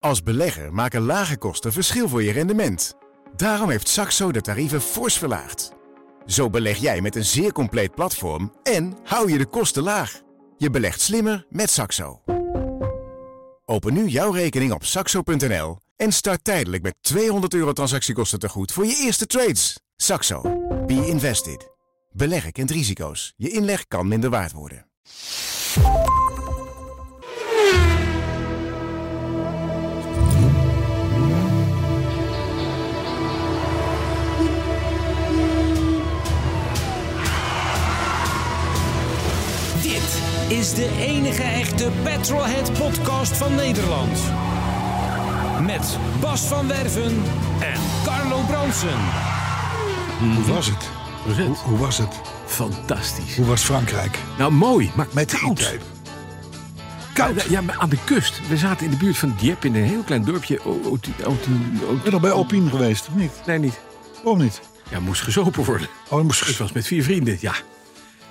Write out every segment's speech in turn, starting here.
Als belegger maken lage kosten verschil voor je rendement. Daarom heeft Saxo de tarieven fors verlaagd. Zo beleg jij met een zeer compleet platform en hou je de kosten laag. Je belegt slimmer met Saxo. Open nu jouw rekening op saxo.nl en start tijdelijk met 200 euro transactiekosten te goed voor je eerste trades. Saxo. Be invested. Beleggen kent risico's. Je inleg kan minder waard worden. Dit is de enige echte Petrolhead podcast van Nederland. Met Bas van Werven en Carlo Bronsen. Hoe was het? Hoe, hoe was het? Fantastisch. Hoe was Frankrijk? Nou, mooi, maar Met de koud. E-type. Koud. Ja, maar aan de kust. We zaten in de buurt van Dieppe in een heel klein dorpje. O, o, o, Ben je nog bij Alpine geweest, of niet? nee, niet. Waarom niet? Ja, moest gezopen worden. Oh, dan moest... Ik was met vier vrienden, ja.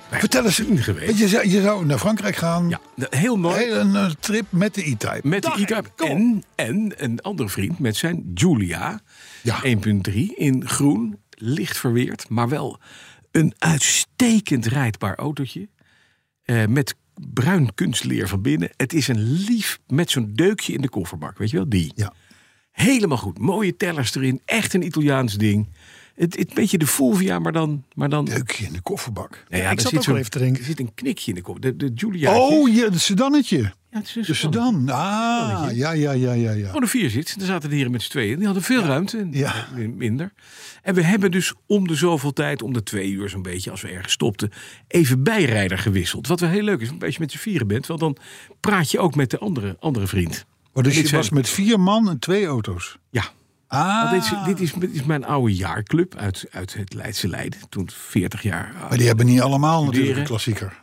Bij Vertel eens. Alpine geweest. Want Je zou, je zou naar Frankrijk gaan. Ja, de- heel mooi. Hey, Een, een trip met de E-Type. Met de Dag, E-Type kom. en, en een andere vriend met zijn Julia. Ja. 1.3 in groen, licht verweerd, maar wel een uitstekend rijdbaar autootje. Eh, met bruin kunstleer van binnen. Het is een lief met zo'n deukje in de kofferbak, weet je wel? Die. Ja. Helemaal goed. Mooie tellers erin. Echt een Italiaans ding. Het, het beetje de Fulvia, maar dan... Maar dan Deukje in de kofferbak. Nou ik zat er zit ook wel zo'n- even te denken. Er zit een knikje in de kop. De, de Giulia. Oh, je, het sedannetje. ja, het is dus een De sedan. Ah, ja, ja, ja, ja. ja. Gewoon een vier zit. Daar zaten de heren met z'n tweeën. Die hadden veel ruimte. Ja. Eh, Minder. En we hebben dus om de zoveel tijd, om de twee uur zo'n beetje, als we ergens stopten, even bijrijder gewisseld. Wat wel heel leuk is, want als je met z'n vieren bent, want dan praat je ook met de andere, andere vriend. Oh, dus Dit je zijn- was met vier man en twee auto's. Ja. Want Oh, Ah, Dit, is, dit, is, dit is mijn oude jaarclub uit, uit het Leidse Leiden. Toen 40 jaar oud. maar die hebben niet allemaal natuurlijk een Studeren. klassieker.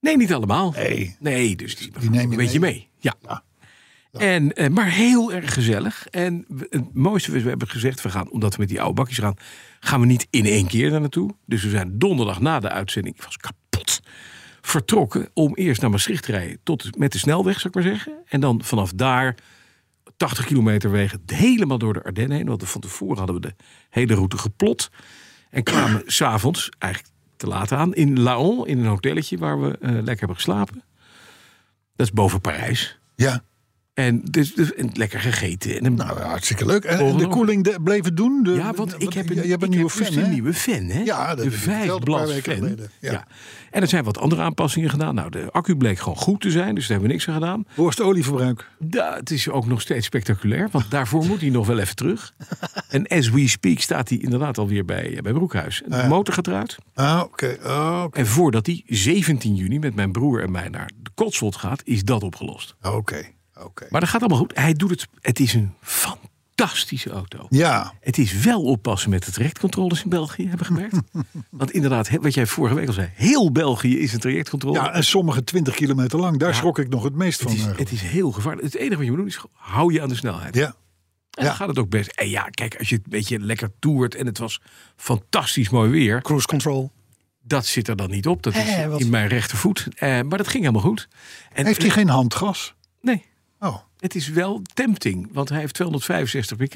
Nee, niet allemaal. Nee. Nee, dus die, Die neem je een beetje mee. mee. Ja. En, eh, maar heel erg gezellig. En we- het mooiste was, we hebben gezegd, we gaan, omdat we met die oude bakjes gaan, gaan we niet in één keer daar naartoe. Dus we zijn donderdag na de uitzending, ik was kapot, vertrokken om eerst naar Maastricht te rijden. Tot met de snelweg, zou ik maar zeggen. En dan vanaf daar 80 kilometer wegen helemaal door de Ardennen heen. Want van tevoren hadden we de hele route geplot. En kwamen s'avonds, eigenlijk te laat aan, in Laon, in een hotelletje waar we eh, lekker hebben geslapen. Dat is boven Parijs. Ja, En, dus, dus- en lekker gegeten. En een- nou hartstikke leuk. En, en Volgende de nog. koeling de- bleven doen? De- ja, want ik heb een, je ik hebt een nieuwe heb dus fan, hè? een nieuwe fan, hè? Ja, dat heb de je vijf verteld een paar blad weken fan. geleden. Ja. En er zijn wat andere aanpassingen gedaan. Nou, de accu bleek gewoon goed te zijn, dus daar hebben we niks aan gedaan. Borstolieverbruik. Ja, het is ook nog steeds spectaculair, want daarvoor moet hij nog wel even terug. En as we speak staat hij inderdaad alweer bij, eh, bij Broekhuis. En De motor gaat eruit. Ah, oké. ah, oké. En voordat hij 17 juni met mijn broer en mij naar de Cotswold gaat, is dat opgelost. Oké, oké. Maar dat gaat allemaal goed. Hij doet het. Het is een fantastische auto. Ja, Het is wel oppassen met de trajectcontroles in België, hebben we gemerkt. Want inderdaad, he- wat jij vorige week al zei, heel België is een trajectcontrole. ja, en sommige 20 kilometer lang, daar schrok ik nog het meest van. het, is, eigenlijk. het is heel gevaarlijk. Het enige wat je moet doen is gewoon, hou je aan de snelheid. ja. En dan Ja. gaat het ook best. En ja, kijk, als je het een beetje lekker toert en het was fantastisch mooi weer, Cruise control. dat zit er dan niet op. Dat is Hè, wat- in mijn rechtervoet. Eh, maar dat ging helemaal goed. En Heeft hij geen handgas? Nee, Oh, het is wel tempting, want hij heeft 265 pk.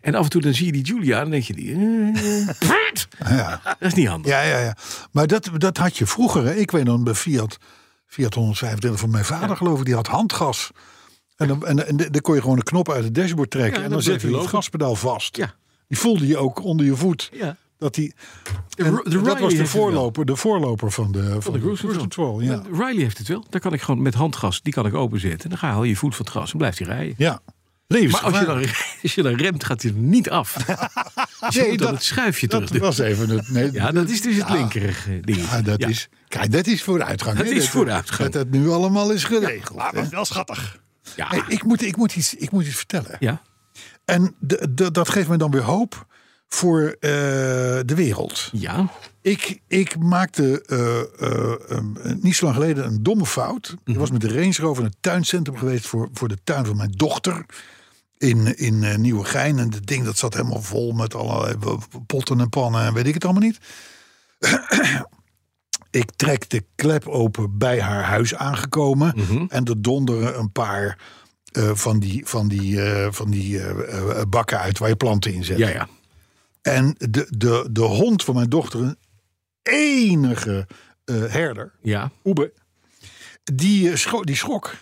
En af en toe dan zie je die Julia en dan denk je die. eh, pfft, ja. dat is niet handig. Ja, ja, ja. Maar dat, dat had je vroeger. Hè? Ik weet nog bij Fiat, Fiat 125 van mijn vader, geloof ik, die had handgas. En dan, en, en dan kon je gewoon een knop uit het dashboard trekken. Ja, en dan dan bleef zette hij je het lopen. gaspedaal vast. Ja. Die voelde je ook onder je voet. Ja. Dat die, De, en Ro- de dat Riley was heeft de het wel. voorloper, de voorloper van de, van de cruise control. control. Ja. Riley heeft het wel. Daar kan ik gewoon met handgas, die kan ik openzetten. Dan ga haal je je voet van het gas en blijft hij rijden. ja. dus Maar als je, Levensgevaarlijk. dan, als je dan remt, gaat hij er niet af. Dus je Nee, moet dan dat- het schuifje terug Dat doen. was even het. Nee, Ja, dat is dus het linkerige ding. Ah, dat, Is, kijk, dat is vooruitgang. Dat hè, is vooruitgang. Dat dat nu allemaal is geregeld. Maar hè. was wel schattig. Ja. Hey, ik, moet, ik, moet iets, ik moet iets vertellen. ja. En de- de- dat geeft me dan weer hoop voor eh, de wereld. Ja. Ik, ik maakte eh, eh, eh, niet zo lang geleden een domme fout. Ik was met de Range Rover in het tuincentrum geweest voor, voor de tuin van mijn dochter. In, in eh, Nieuwegein. En dat ding dat zat helemaal vol met allerlei w- potten en pannen en weet ik het allemaal niet. ik trek de klep open bij haar huis aangekomen. En er donderen een paar eh, van die, van die, eh, van die eh, eh, bakken uit waar je planten in zet. Ja, ja. En de, de, de hond van mijn dochter, een enige eh, herder, ja. Oebe, die, eh, scho- die schrok.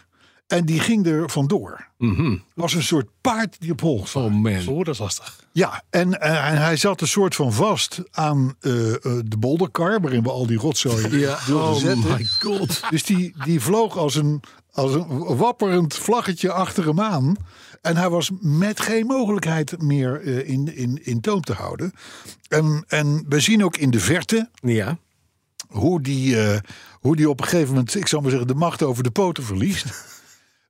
En die ging er vandoor. Mhm. Was een soort paard die op hol geslagen. Oh man. Oeh, dat is lastig. Ja, en, eh, en hij zat een soort van vast aan eh, eh, de bolderkar... waarin we al die rotzooi wilden zetten. oh my god. Dus die, die vloog als een, als een wapperend vlaggetje achter hem aan. En hij was met geen mogelijkheid meer eh, in, in, in toom te houden. En, en we zien ook in de verte Ja. hoe die, eh, hoe die op een gegeven moment, ik zou maar zeggen, de macht over de poten verliest.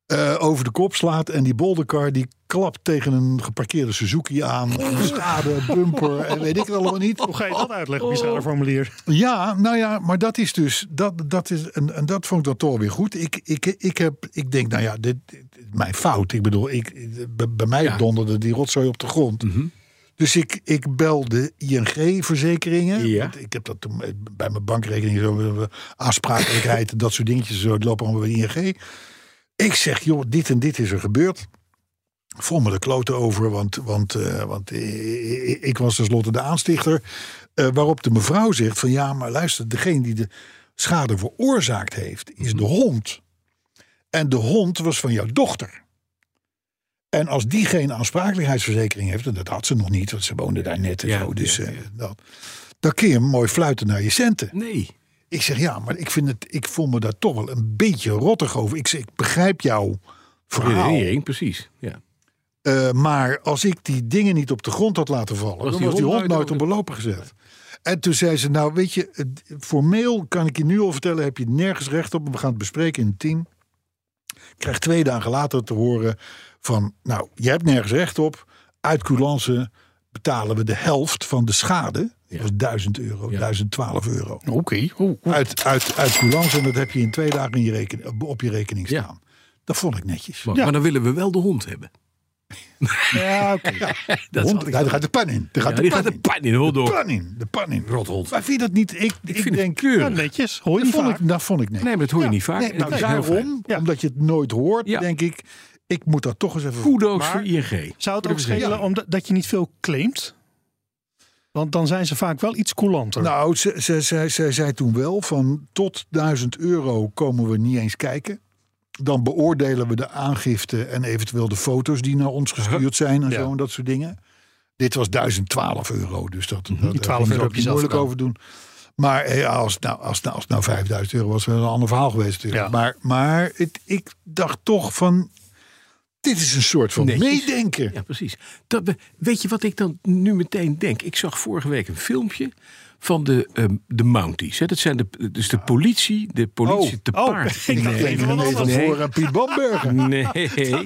Eh, over de kop slaat en die boldercar die klapt tegen een geparkeerde Suzuki aan. Schade, bumper en weet ik het allemaal niet. Hoe ga je dat uitleggen Oh. op je schadeformulier? Ja, nou ja, maar dat is dus. Dat, dat is, en, en dat vond ik dan toch weer goed. Ik, ik, ik, heb, ik denk, nou ja, dit, dit- mijn fout. Ik bedoel, ik, bij, bij mij Ja. Mhm. donderde die rotzooi op de grond. Dus ik, ik bel de ING-verzekeringen. Ja. Want Ik heb dat toen eh, bij mijn bankrekening, zo, aansprakelijkheid, dat soort dingetjes, zo, het lopen allemaal bij de ING. Ik zeg, joh, dit en dit is er gebeurd. Vol me de kloten over, want, want, eh, want eh, ik was tenslotte de aanstichter. Eh, waarop de mevrouw zegt van ja, maar luister, degene die de schade veroorzaakt heeft, is Mhm. de hond. En de hond was van jouw dochter. En als die geen aansprakelijkheidsverzekering heeft, en dat had ze nog niet, want ze woonde daar net en Ja, zo, ja, dus ja. eh, dat, dan kun je mooi fluiten naar je centen. Nee. Ik zeg ja, maar ik, vind het, ik voel me daar toch wel een beetje rottig over. Ik, zeg, ik begrijp jouw verhaal. Redenering, precies. Ja. Eh, maar als ik die dingen niet op de grond had laten vallen, Was dan die was die hond hond nooit nooit op over belopen gezet. En toen zei ze, nou weet je, het- formeel kan ik je nu al vertellen, heb je nergens recht op. We gaan het bespreken in het team. Ik krijg twee dagen later te horen van, nou, je hebt nergens recht op. Uit coulance betalen we de helft van de schade. Dat was 1000 euro, Ja. 1012 euro Oké. oh, uit, uit, uit coulance. En dat heb je in twee dagen in je reken- op je rekening Ja. staan. Dat vond ik netjes. Maar, maar dan willen we wel de hond hebben. Ja, oké. Ja. Dat Hond- had ik daar gaat de pan in. Daar gaat Ja, de die pan gaat de in. pan in, hoor De door. pan in. De pan in. Rothond. Maar vind je dat niet? Ik, ik, vind het denk... Ja, keurig. netjes. Hoor je dat, niet vond vaak. ik, dat vond ik netjes. Nee, maar dat hoor je niet vaak. Nee, En nou, dat is heel fijn. daarom, omdat je het nooit hoort, Ja. denk ik... Ik moet dat toch eens even... Kudo's Maar- voor ING. Zou het Voor ook de schelen verzekering. omdat dat je niet veel claimt? Want dan zijn ze vaak wel iets coulanter. Nou, ze, ze, ze, ze zei toen wel van tot 1000 euro komen we niet eens kijken. Dan beoordelen we de aangifte en eventueel de foto's die naar ons gestuurd zijn en Ja. zo en dat soort dingen. Dit was 1012 euro, dus dat, dat daar Die 12 kon Mhm. euro je heb je ook zelf moeilijk gedaan. over doen. Maar eh, als het nou, als, het nou, als het nou 5000 euro was, was het een ander verhaal geweest natuurlijk. Ja. Maar, maar het, ik dacht toch van, dit is een soort van Netjes. meedenken. Ja, precies. Dat, be- weet je wat ik dan nu meteen denk? Ik zag vorige week een filmpje van de, ehm, de Mounties. Hè? Dat zijn de, dus de politie, de politie Ah. Oh, te oh, paard. ik Ik dacht denk even van wat nee, van anders. voor en Piet Bamberger. Nee.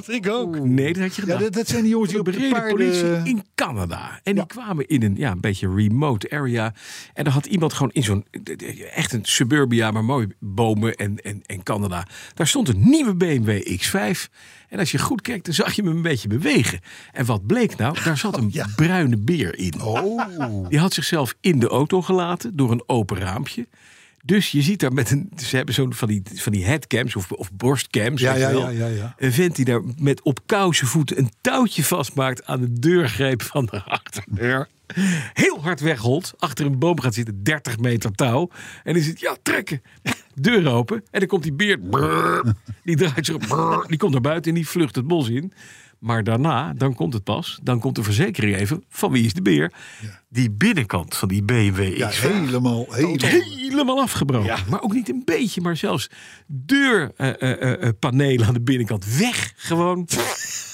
ik ook. Nee, dat had je Ja, gedaan. dat, dat zijn die jongens die de op de bereden paarden... politie in Canada. En die kwamen in een, ja, een beetje remote area. En daar had iemand gewoon in zo'n, echt een suburbia, maar mooi bomen en, en, en Canada. Daar stond een nieuwe BMW X5. En als je goed kijkt, dan zag je hem een beetje bewegen. En wat bleek nou? Daar zat een ja. bruine beer in. Oh, Die had zichzelf in de auto gelaten door een open raampje. Dus je ziet daar met een. Ze hebben zo'n van die, van die headcams of, of borstcams. Ja, weet je ja, wel. ja, ja, ja. Een vent die daar met op kousenvoeten een touwtje vastmaakt aan de deurgreep van de achterdeur. Heel hard wegholt. Achter een boom gaat zitten, 30 meter touw. En die zit, ja, trekken. Deur open. En dan komt die beer. brrr, die draait zich. op, brrr, die komt naar buiten en die vlucht het bos in. Maar daarna, dan komt het pas. Dan komt de verzekering even. Van wie is de beer? Die binnenkant van die BMW ja, X5 helemaal, helemaal... helemaal afgebroken. Maar ook niet een beetje, maar zelfs eh, deurpanelen aan de binnenkant weg. Gewoon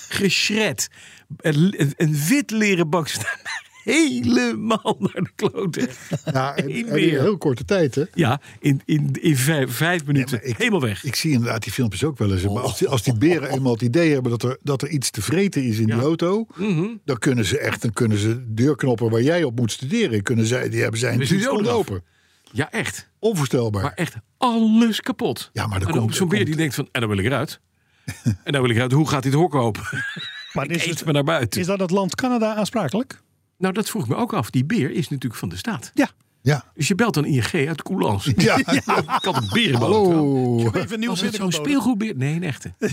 geschred. Een, een- een wit leren bak staat helemaal naar de kloten. Ja, en- Eén en meer. in heel korte tijd, hè? Ja, in, in, in vijf, vijf minuten maar ik- helemaal weg. Ik zie inderdaad die filmpjes ook wel eens. Maar als die, als Oh. die beren eenmaal het idee hebben dat er, dat er iets te vreten is in die auto, Mhm. dan kunnen ze echt, dan kunnen ze deurknoppen waar jij op moet studeren, kunnen zij, die hebben zijn Dus die niet doden af. open. Ja, echt. Onvoorstelbaar. Maar echt alles kapot. Ja, maar er En komt- dan er zo'n beer die komt- denkt van, en dan wil ik eruit. en dan wil ik eruit. Hoe gaat dit hok open? maar is, Eet het, me naar buiten. is dat het land Canada aansprakelijk? Nou, dat vroeg ik me ook af. Die beer is natuurlijk van de staat. Ja. Ja. Dus je belt dan ING uit Coulans. Ja. ik had een berenboot. Hallo, Even nieuwe Was het zo'n binnenkomen. speelgoedbeer? Nee, een echte. Oh,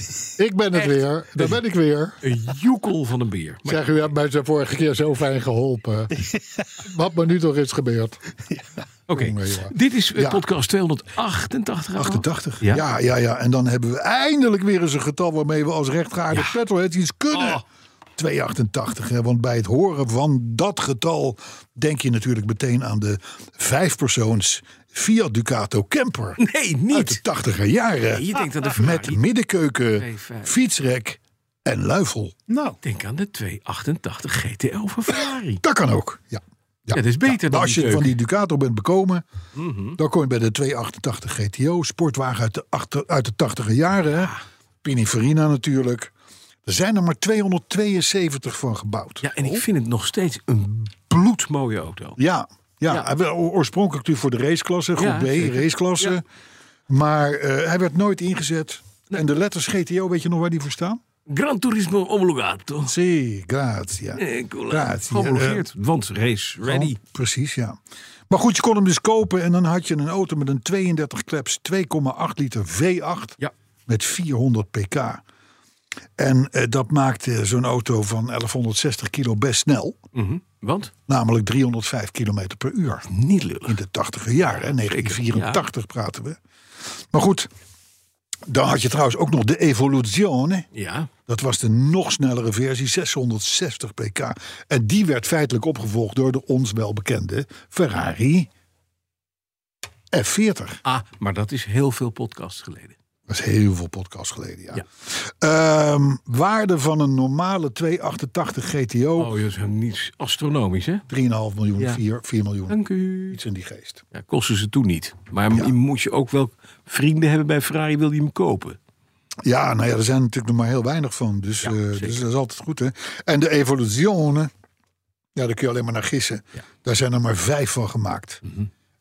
ik ben het Echt. weer. Daar ben ik weer. Een joekel van een beer. Maar Zeg, u hebt mij de vorige keer zo fijn geholpen. Wat me nu toch is gebeurd. Oké, jongen, jongen. dit is eh, Ja. podcast 288. 88. Ja. Ja. ja, ja, En dan hebben we eindelijk weer eens een getal waarmee we als rechtgeaarde Ja. petrolheads iets kunnen. Oh. 288. Hè, want bij het horen van dat getal denk je natuurlijk meteen aan de vijfpersoons Fiat Ducato Camper. Nee, Uit de niet. 80er jaren. Nee, je denkt aan de Met Ferrari. middenkeuken, Nee, vijf. fietsrek en luifel. Nou, Denk aan de 288 GTL van Ferrari. Dat kan ook. Ja. Ja. dat is beter dan dus Mhm. Maar als die je van keuken. die Ducato bent bekomen, dan kom je bij de 288 GTO, sportwagen uit de, achter, uit de 80 jaren. hè. Pininfarina natuurlijk. Er zijn er maar 272 van gebouwd. Oh. Ja, en ik vind het nog steeds een bloedmooie auto. Ja, ja, Ja. hij werd o- oorspronkelijk natuurlijk voor de raceklasse, groep Ja, B, zeker. raceklasse. Ja. Maar eh, hij werd nooit ingezet. En de letters GTO, weet je nog waar die voor staan? Gran Turismo Omologato. Sì, grazie. Eh, cool. Grazie. Eh, Geomologeerd, want race ready. Oh, precies, ja. Maar goed, je kon hem dus kopen en dan had je een auto met een 32 kleps 2,8 liter V8 Ja. met 400 pk. En eh, dat maakte zo'n auto van 1160 kilo best snel. Mhm. Want? Namelijk 305 kilometer per uur. Niet lullig. In de 80e jaren, hè, 1984 praten we. Maar goed, dan had je trouwens ook nog de Evoluzione. Ja, Dat was de nog snellere versie, 660 pk. En die werd feitelijk opgevolgd door de ons welbekende Ferrari F40. ah, maar dat is heel veel podcasts geleden. Dat is heel veel podcast geleden, ja. Ja. Ehm, waarde van een normale 288 GTO, Oh, dat is helemaal niets astronomisch, hè? 3,5 miljoen, Ja. 4, 4 miljoen. Dank u. Iets in die geest. Ja, kostte ze toen niet. Maar je moet je ook wel vrienden hebben bij Ferrari, wil je hem kopen? Ja, nou ja, er zijn natuurlijk nog maar heel weinig van. Dus, Ja, eh, dus zeker. dat is altijd goed, hè. En de Evoluzione, ja, daar kun je alleen maar naar gissen. Ja. Mhm. Daar zijn er maar vijf van gemaakt.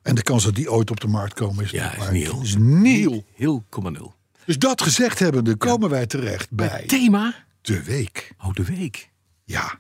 En de kans dat die ooit op de markt komen is, Ja, nog is maar- nihil. is nihil. Heel komma nul. Dus dat gezegd hebbende komen wij terecht bij Thema? de week. Oh, de week. Ja,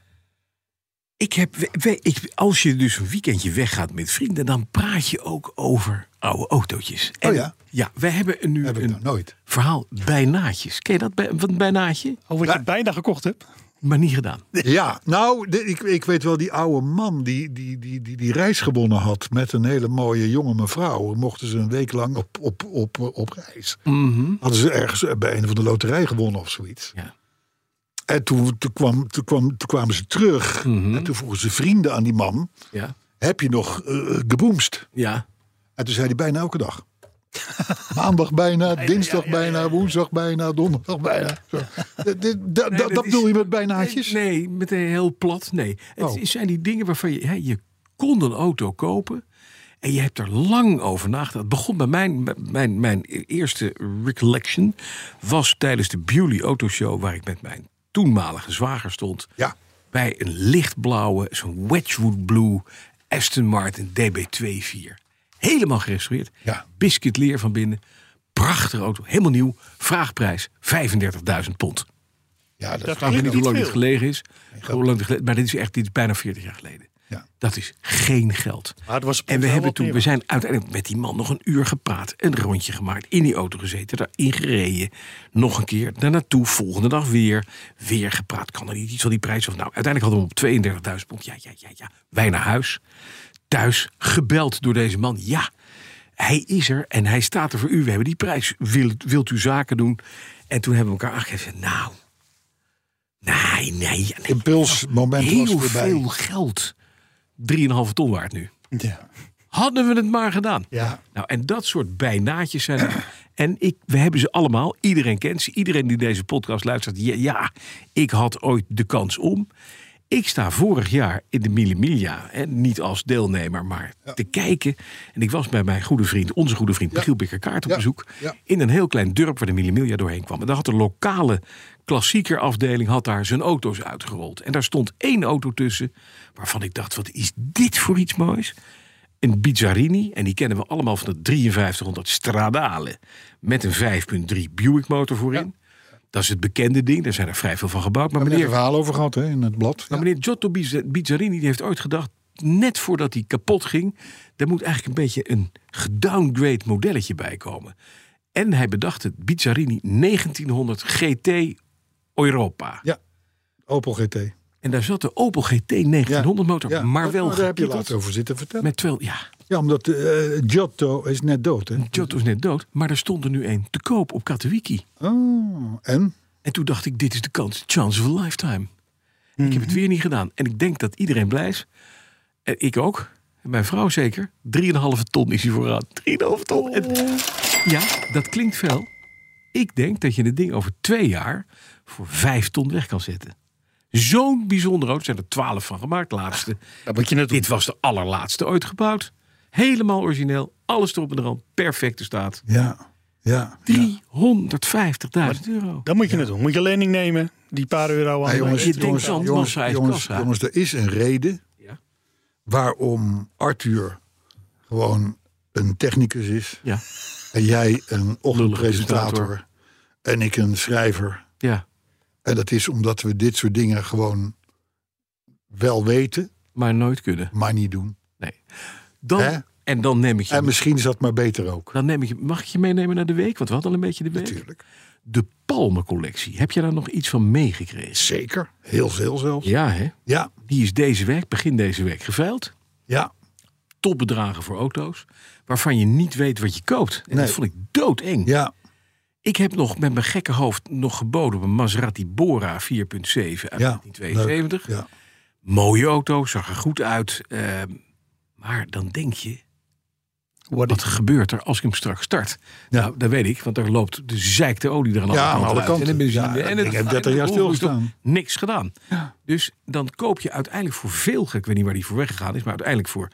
Ik heb, we- we- ik, als je dus een weekendje weggaat met vrienden, dan praat je ook over oude autootjes. En, Oh ja? Ja, wij hebben een- nu heb ik een nou nooit. verhaal bijnaatjes. Ken je dat, bij, wat een bijnaatje? hoe ik het bijna gekocht heb. Maar niet gedaan. Ja, nou, de- ik, ik weet wel, die oude man die die, die, die die reis gewonnen had met een hele mooie jonge mevrouw. Mochten ze een week lang op, op, op, op reis. Hadden ze ergens bij een van de loterij gewonnen of zoiets. Ja. En toen, toen, kwam, toen, kwam, toen kwamen ze terug. En toen vroegen ze vrienden aan die man: Ja. Heb je nog eh geboomst? Ja. En toen zei hij bijna elke dag. Maandag bijna, dinsdag bijna, woensdag bijna, donderdag bijna. Zo. Dit- dit- da- da- dat dat is- bedoel je met bijnaatjes? Nee, nee, meteen heel plat. Nee. Het Oh. is- zijn die dingen waarvan je... Hè, je kon een auto kopen en je hebt er lang over nagedacht. Het begon bij mijn, mijn, mijn eerste recollection... was tijdens de Beauty Autoshow... waar ik met mijn toenmalige zwager stond... Ja. bij een lichtblauwe, zo'n Wedgwood Blue... Aston Martin DB24. Helemaal gerestaureerd. Ja. Biscuitleer van binnen. Prachtige auto, helemaal nieuw. Vraagprijs 35.000 pond. Ja, dat, Dat Ik weet klinkt niet hoe lang niet dit veel. gelegen is. Hoe lang dit gelegen- maar dit is echt dit is bijna 40 jaar geleden. Ja. Dat is geen geld. Maar het was en we, wel hebben wat toen, we meer. zijn uiteindelijk met die man nog een uur gepraat. Een rondje gemaakt. In die auto gezeten. Daarin gereden. Nog een keer daar naartoe. Volgende dag weer. Weer gepraat. Kan er niet iets van die prijs? Of nou, uiteindelijk hadden we hem op 32.000 pond. Ja, ja, ja, ja. Wij naar huis. Thuis gebeld door deze man. Ja, hij is er en hij staat er voor u. We hebben die prijs. Wilt, wilt u zaken doen? En toen hebben we elkaar aangegeven. Nou, nee, nee. ja, nee impulsmoment was heel voorbij. veel geld. 3,5 ton waard nu. Ja. Hadden we het maar gedaan. Ja. Nou, en dat soort bijnaatjes zijn er. En ik, we hebben ze allemaal. Iedereen kent ze. Iedereen die deze podcast luistert. Ja, ja, ik had ooit de kans om. Ik sta vorig jaar in de Mille Miglia. hè, Niet als deelnemer, maar te kijken. En ik was bij mijn goede vriend, onze goede vriend Michiel Bikkerkaart op Ja. bezoek. Ja. In een heel klein dorp waar de Mille Miglia doorheen kwam. En daar had de lokale klassiekerafdeling had daar zijn auto's uitgerold. En daar stond één auto tussen. Waarvan ik dacht, wat is dit voor iets moois? Een Bizzarini, en die kennen we allemaal van de 5300 Stradale. Met een 5.3 Buick motor voorin. Dat is het bekende ding, daar zijn er vrij veel van gebouwd. Maar We hebben er meneer, een verhaal over gehad hè, in het blad. maar meneer Giotto Bizz- Bizzarini die heeft ooit gedacht... net voordat die kapot ging, daar moet eigenlijk een beetje een gedowngrade modelletje bij komen. En hij bedacht het Bizzarini 1900 GT Europa. Opel GT. En daar zat de Opel GT 1900 motor, Ja, maar wel Daar heb je gekieteld laatst over zitten vertellen. Met terwijl, ja, Ja, omdat eh Giotto is net dood, hè? Giotto is net dood, maar er stond er nu een te koop op Katowiki. Oh, en? En toen dacht ik, dit is de kans, chance of a lifetime. Ik Mhm. heb het weer niet gedaan. En ik denk dat iedereen blij is. En ik ook. En mijn vrouw zeker. 3,5 ton is hij vooraan. 3,5 ton. En, Oh. ja, dat klinkt veel. Ik denk dat je het ding over twee jaar voor 5 ton weg kan zetten. Zo'n bijzonder auto. Er zijn er 12 van gemaakt, laatste. Dat moet je net doen. Dit was de allerlaatste ooit gebouwd. Helemaal origineel. Alles erop en eraan. Perfecte staat. Ja, ja. 350.000 euro. Dan moet je het doen. Moet je lening nemen, die paar euro aan Ja, de jongens, bank. Oh, je denkt zo'n jongens, massa uit jongens, kassa. jongens, er is een reden Ja. waarom Arthur gewoon een technicus is. Ja, En jij een ochtendpresentator. presentator. En ik een schrijver. ja. En dat is omdat we dit soort dingen gewoon wel weten, Maar nooit kunnen. maar niet doen. Dan, Hè? En dan neem ik je En misschien is dat maar beter ook. Dan neem ik, je- mag ik je meenemen naar de week? Want we hadden al een beetje de week. Natuurlijk. De Palmencollectie. Heb je daar nog iets van meegekregen? Zeker. Heel veel zelfs. Ja, hè? Ja, Die is deze week, begin deze week, geveild. ja. Topbedragen voor auto's. Waarvan je niet weet wat je koopt. En Nee. dat vond ik doodeng. Ja, Ik heb nog met mijn gekke hoofd nog geboden op een Maserati Bora 4.7 uit ja. 1972. Leuk, Ja. Mooie auto, zag er goed uit. ehm, maar dan denk je, What wat gebeurt er als ik hem straks start? Ja. Nou, dat weet ik, want daar loopt de zeikte olie er aan alle Ja, aan kanten alle uit. kanten. En de benzine. Ja, en ik het, heb 30 en jaar de stilgestaan. oorlog, Niks gedaan. Dus dan koop je uiteindelijk voor veel, ik weet niet waar die voor weggegaan is, maar uiteindelijk voor,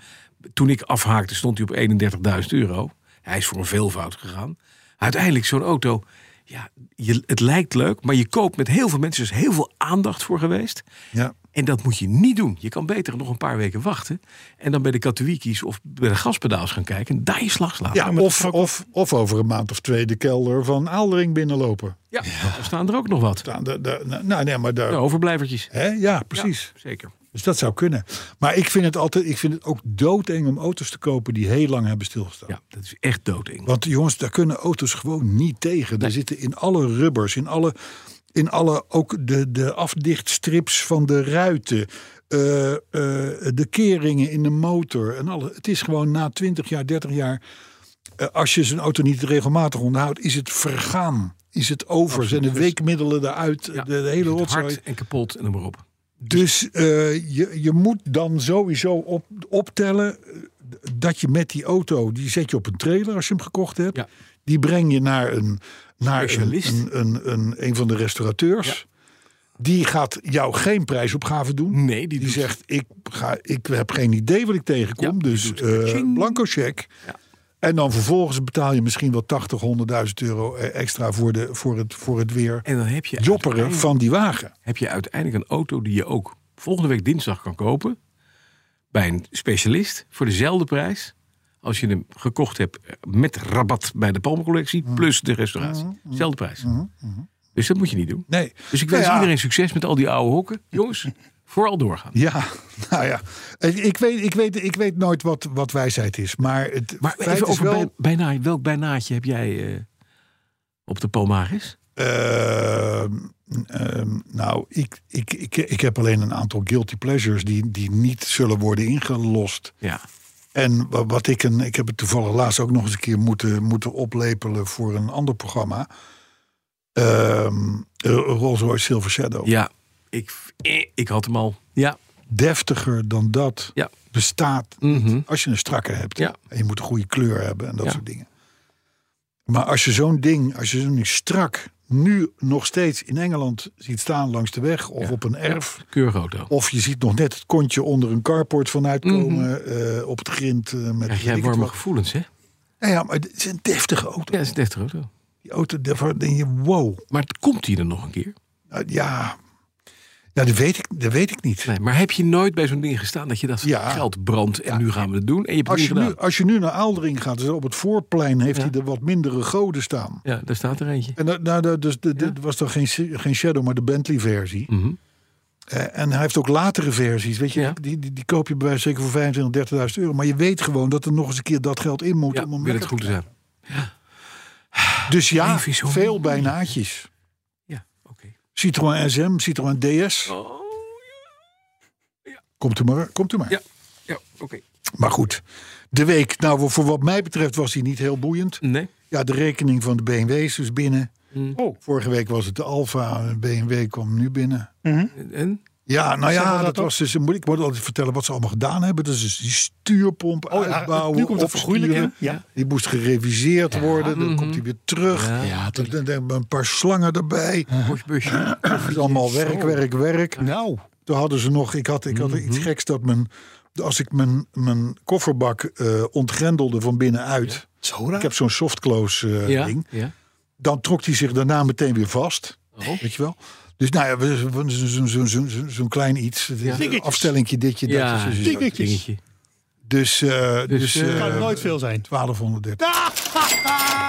toen ik afhaakte stond hij op 31.000 euro. Hij is voor een veelvoud gegaan. Uiteindelijk zo'n auto, ja, je, het lijkt leuk, maar je koopt met heel veel mensen, er is heel veel aandacht voor geweest. ja. En dat moet je niet doen. Je kan beter nog een paar weken wachten. En dan bij de Katowiki's of bij de gaspedaals gaan kijken. En daar je slag slaan. Ja, maar of, dat- of, of over een maand of twee de kelder van Aaldering binnenlopen. Ja, daar staan er ook nog wat. Daar- daar- daar- nou, nee, maar daar. De overblijvertjes. Hè? Ja, precies. Ja, zeker. Dus dat zou kunnen. Maar ik vind het altijd, ik vind het ook doodeng om auto's te kopen die heel lang hebben stilgestaan. Ja, dat is echt doodeng. Want jongens, daar kunnen auto's gewoon niet tegen. Daar zitten in alle rubbers, in alle, in alle ook de, de afdichtstrips van de ruiten. eh, eh, de keringen in de motor en alle. Het is gewoon na 20 jaar, 30 jaar. eh, als je zijn auto niet regelmatig onderhoudt, is het vergaan. Is het over. Zijn de weekmiddelen eruit. Ja, de, de is hele het rotzooi. Hard en kapot en noem maar op. Dus eh, je, je moet dan sowieso op, optellen eh, dat je met die auto, die zet je op een trailer als je hem gekocht hebt. Ja. Die breng je naar een, naar een, Specialist. een, een, een, een van de restaurateurs. Die gaat jou geen prijsopgave doen. Nee, die Die doet- zegt, ik, ga, ik heb geen idee wat ik tegenkom. Ja, die dus doet eh, ka-ching. blanco check. Ja. En dan vervolgens betaal je misschien wel 80, 100.000 euro eh, extra voor, de, voor, het, voor het weer En dan heb je, jopperen uiteindelijk- van die wagen. heb je uiteindelijk een auto die je ook volgende week dinsdag kan kopen. Bij een specialist voor dezelfde prijs. Als je hem gekocht hebt eh, met rabat bij de Palmencollectie. Mm. Plus de restauratie. Mm-hmm. Zelfde prijs. Dus dat moet je niet doen. Nee. Dus ik Nou wens ja. iedereen succes met al die oude hokken. Jongens, vooral doorgaan. Ja, nou ja. Ik, ik, weet, ik, weet, ik weet nooit wat, wat wijsheid is. Maar het Maar feit even is over wel... bij, bijna, welk bijnaatje heb jij eh, op de Palmaris? ehm, ehm, nou, ik, ik, ik, ik heb alleen een aantal guilty pleasures... die, die niet zullen worden ingelost. Ja. En wa- wat ik, een, ik heb het toevallig laatst ook nog eens een keer moeten, moeten oplepelen... voor een ander programma. Ehm, eh, Rolls Royce Silver Shadow. Ja, ik, eh, ik had hem al. Ja. Deftiger dan dat Ja. bestaat Mhm. Als je een strakke hebt. Ja. En je moet een goede kleur hebben en dat Ja. soort dingen. Maar als je zo'n ding, als je zo'n ding strak nu nog steeds in Engeland ziet staan langs de weg of op een erf. Keurig auto. Of je ziet nog net het kontje onder een carport vanuit komen. eh, op het grind. eh, met Mhm. Krijg weet jij ik het warme wat. gevoelens, hè? Ja, Nou ja, maar het is een deftige auto. dat is een deftige auto. Die auto, daarvan denk je, wow. Maar komt die er nog een keer? Nou, ja, nou, dat, weet ik, dat weet ik niet. Nee, maar heb je nooit bij zo'n ding gestaan dat je dacht, Ja. geld brandt en nu gaan we het doen? En je hebt het niet Als je, nu, gedaan. als je nu naar Aaldering gaat, dus op het voorplein heeft Ja. hij er wat mindere goden staan. Ja, daar staat er eentje. En dat- nou, dat- dus de- dit was dan geen, si- geen Shadow, maar de Bentley-versie. Mhm. Eh, en hij heeft ook latere versies. Weet je, Ja. die, die, die koop je bij wijze van zeker voor 25.000, 30.000 euro. Maar je weet gewoon dat er nog eens een keer dat geld in moet. Ja, om hem wil het lekker goed te zijn. krijgen. Dus ja, Leven is zo veel mooi. bijnaatjes. Ja, oké. Citroën SM, Citroën DS. Komt u maar. Komt u maar. Ja, ja oké. Maar goed, de week, nou voor wat mij betreft was die niet heel boeiend. Nee. Ja, de rekening van de BMW is dus binnen. Mm. Oh. Vorige week was het de Alfa, en BMW kwam nu binnen. En? Ja, nou Zeggen we ja, dat dat, ook? was dus, moet ik moet altijd vertellen wat ze allemaal gedaan hebben. Dat is dus die stuurpomp Oh, ja, uitbouwen, nu komt het opsturen. vergoeilijken. Ja. mhm. Die moest gereviseerd worden, dan komt hij weer terug. Ja, Dan- dan hebben we een paar slangen erbij. Postbusje. Het is allemaal werk, werk, werk. Nou, Toen hadden ze nog, ik had, ik had iets Mhm. geks dat mijn, als ik mijn, mijn kofferbak eh, ontgrendelde van binnenuit. zo raar. Ik heb zo'n softclose eh, Ja. ding. ja. Dan trok hij zich daarna meteen weer vast. Oh. Weet je wel? Dus nou ja, we- we- zo- zo- zo- zo- zo- zo'n klein iets. Een Dingetjes. afstellingje, ditje, Ja, datje. zo- zo- zo. Dingetjes. dingetje. Dus, eh, dus, eh, eh, kan nooit veel zijn. 1230.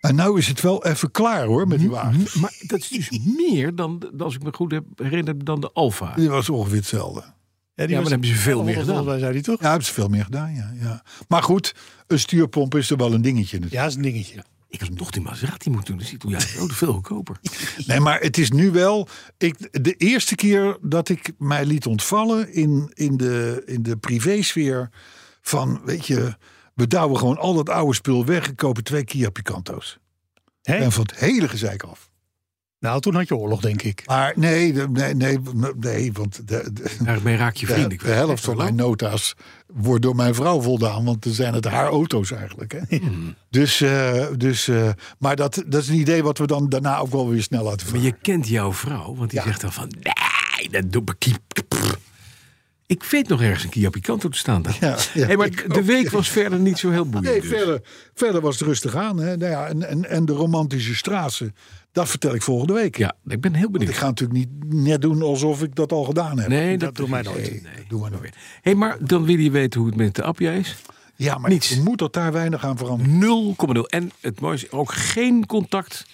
En nou is het wel even klaar hoor, met die Mhm, wagen. Maar dat is dus meer dan, dan, als ik me goed heb herinner, dan de Alfa. Die was ongeveer hetzelfde. Ja, Ja, maar dan hebben ze veel meer gedaan. Wij zei die toch? Ja, hebben ze veel meer gedaan, ja, ja. Maar goed, een stuurpomp is er wel een dingetje natuurlijk. Ja, is een dingetje. Ik had toch die Maserati moeten doen. Dat is Italiaans ook veel goedkoper. Nee, maar het is nu wel. Ik, de eerste keer dat ik mij liet ontvallen in, in, de, in de privésfeer. Van weet je, we douwen gewoon al dat oude spul weg en kopen twee Kia Picanto's. Hè? En van het hele gezeik af. Nou, toen had je oorlog, denk ik. Maar nee, de- nee, nee, nee want de, de, Daarmee raak je de- vriend. Ik de weet het helft van wel. mijn nota's wordt door mijn vrouw voldaan. Want dan zijn het haar auto's eigenlijk. Hè? Hmm. Dus, eh, dus, eh, maar dat, dat is een idee wat we dan daarna ook wel weer snel laten Maar varen. je kent jouw vrouw, want die zegt dan van... Nee, dat doe ik niet." Pff. Ik weet nog ergens een Kia Picanto te staan daar. Ja, ja, hey, maar ik de week was verder niet zo heel boeiend. Nee, dus. verder, verder was het rustig aan. Hè. Nou ja, en, en, en de romantische straten, dat vertel ik volgende week. Ja, ik ben heel Want ik benieuwd. ga natuurlijk niet net doen alsof ik dat al gedaan heb. Nee, dat, doe mij nooit. Nee, dat doen we nooit. hey, maar dan wil je weten hoe het met de Appia is. 0,0. Ja, maar Niets. ik moet dat daar weinig aan veranderen. En het mooiste, ook geen contact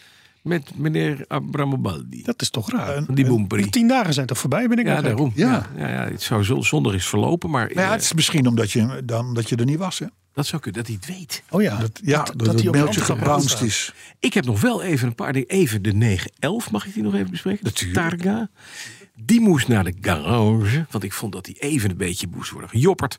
met meneer Abramobaldi. Dat is toch raar. En- Die boemperie. Die tien dagen zijn toch voorbij, ben ik Ja, nou gek? daarom. Ja. Ja, ja, het zou zo- zondag is verlopen, maar Maar Nou ja, eh, het is misschien omdat je, dan, dat je er niet was. Hè? dat zou kunnen, dat hij het weet. Oh ja. Dat, ja, dat, het die op de mailtje Amsterdam gebounced staat. is. Ik heb nog wel even een paar dingen. Even de 911, mag ik die nog even bespreken? De Targa. Die moest naar de garage, want ik vond dat die even een beetje moest worden gejopperd.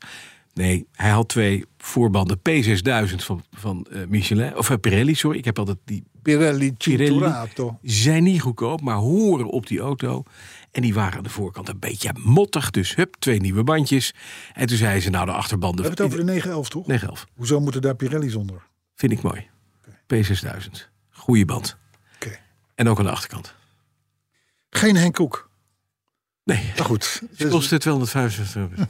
Nee, hij had twee voorbanden P6000 van, van eh, Michelin, of eh, Pirelli, sorry. Ik heb altijd die Pirelli Pirelli. Cinturato. Zijn niet goedkoop, maar horen op die auto. En die waren aan de voorkant een beetje mottig. Dus hup, twee nieuwe bandjes. En toen zei ze, nou de achterbanden... We hebben het over de 911, toch? 911. Hoezo moeten daar Pirelli's onder? Vind ik mooi. P6000. Goeie band. Oké. En ook aan de achterkant. Geen Henk Koek. Nee, Maar goed. het kostte 255 euro.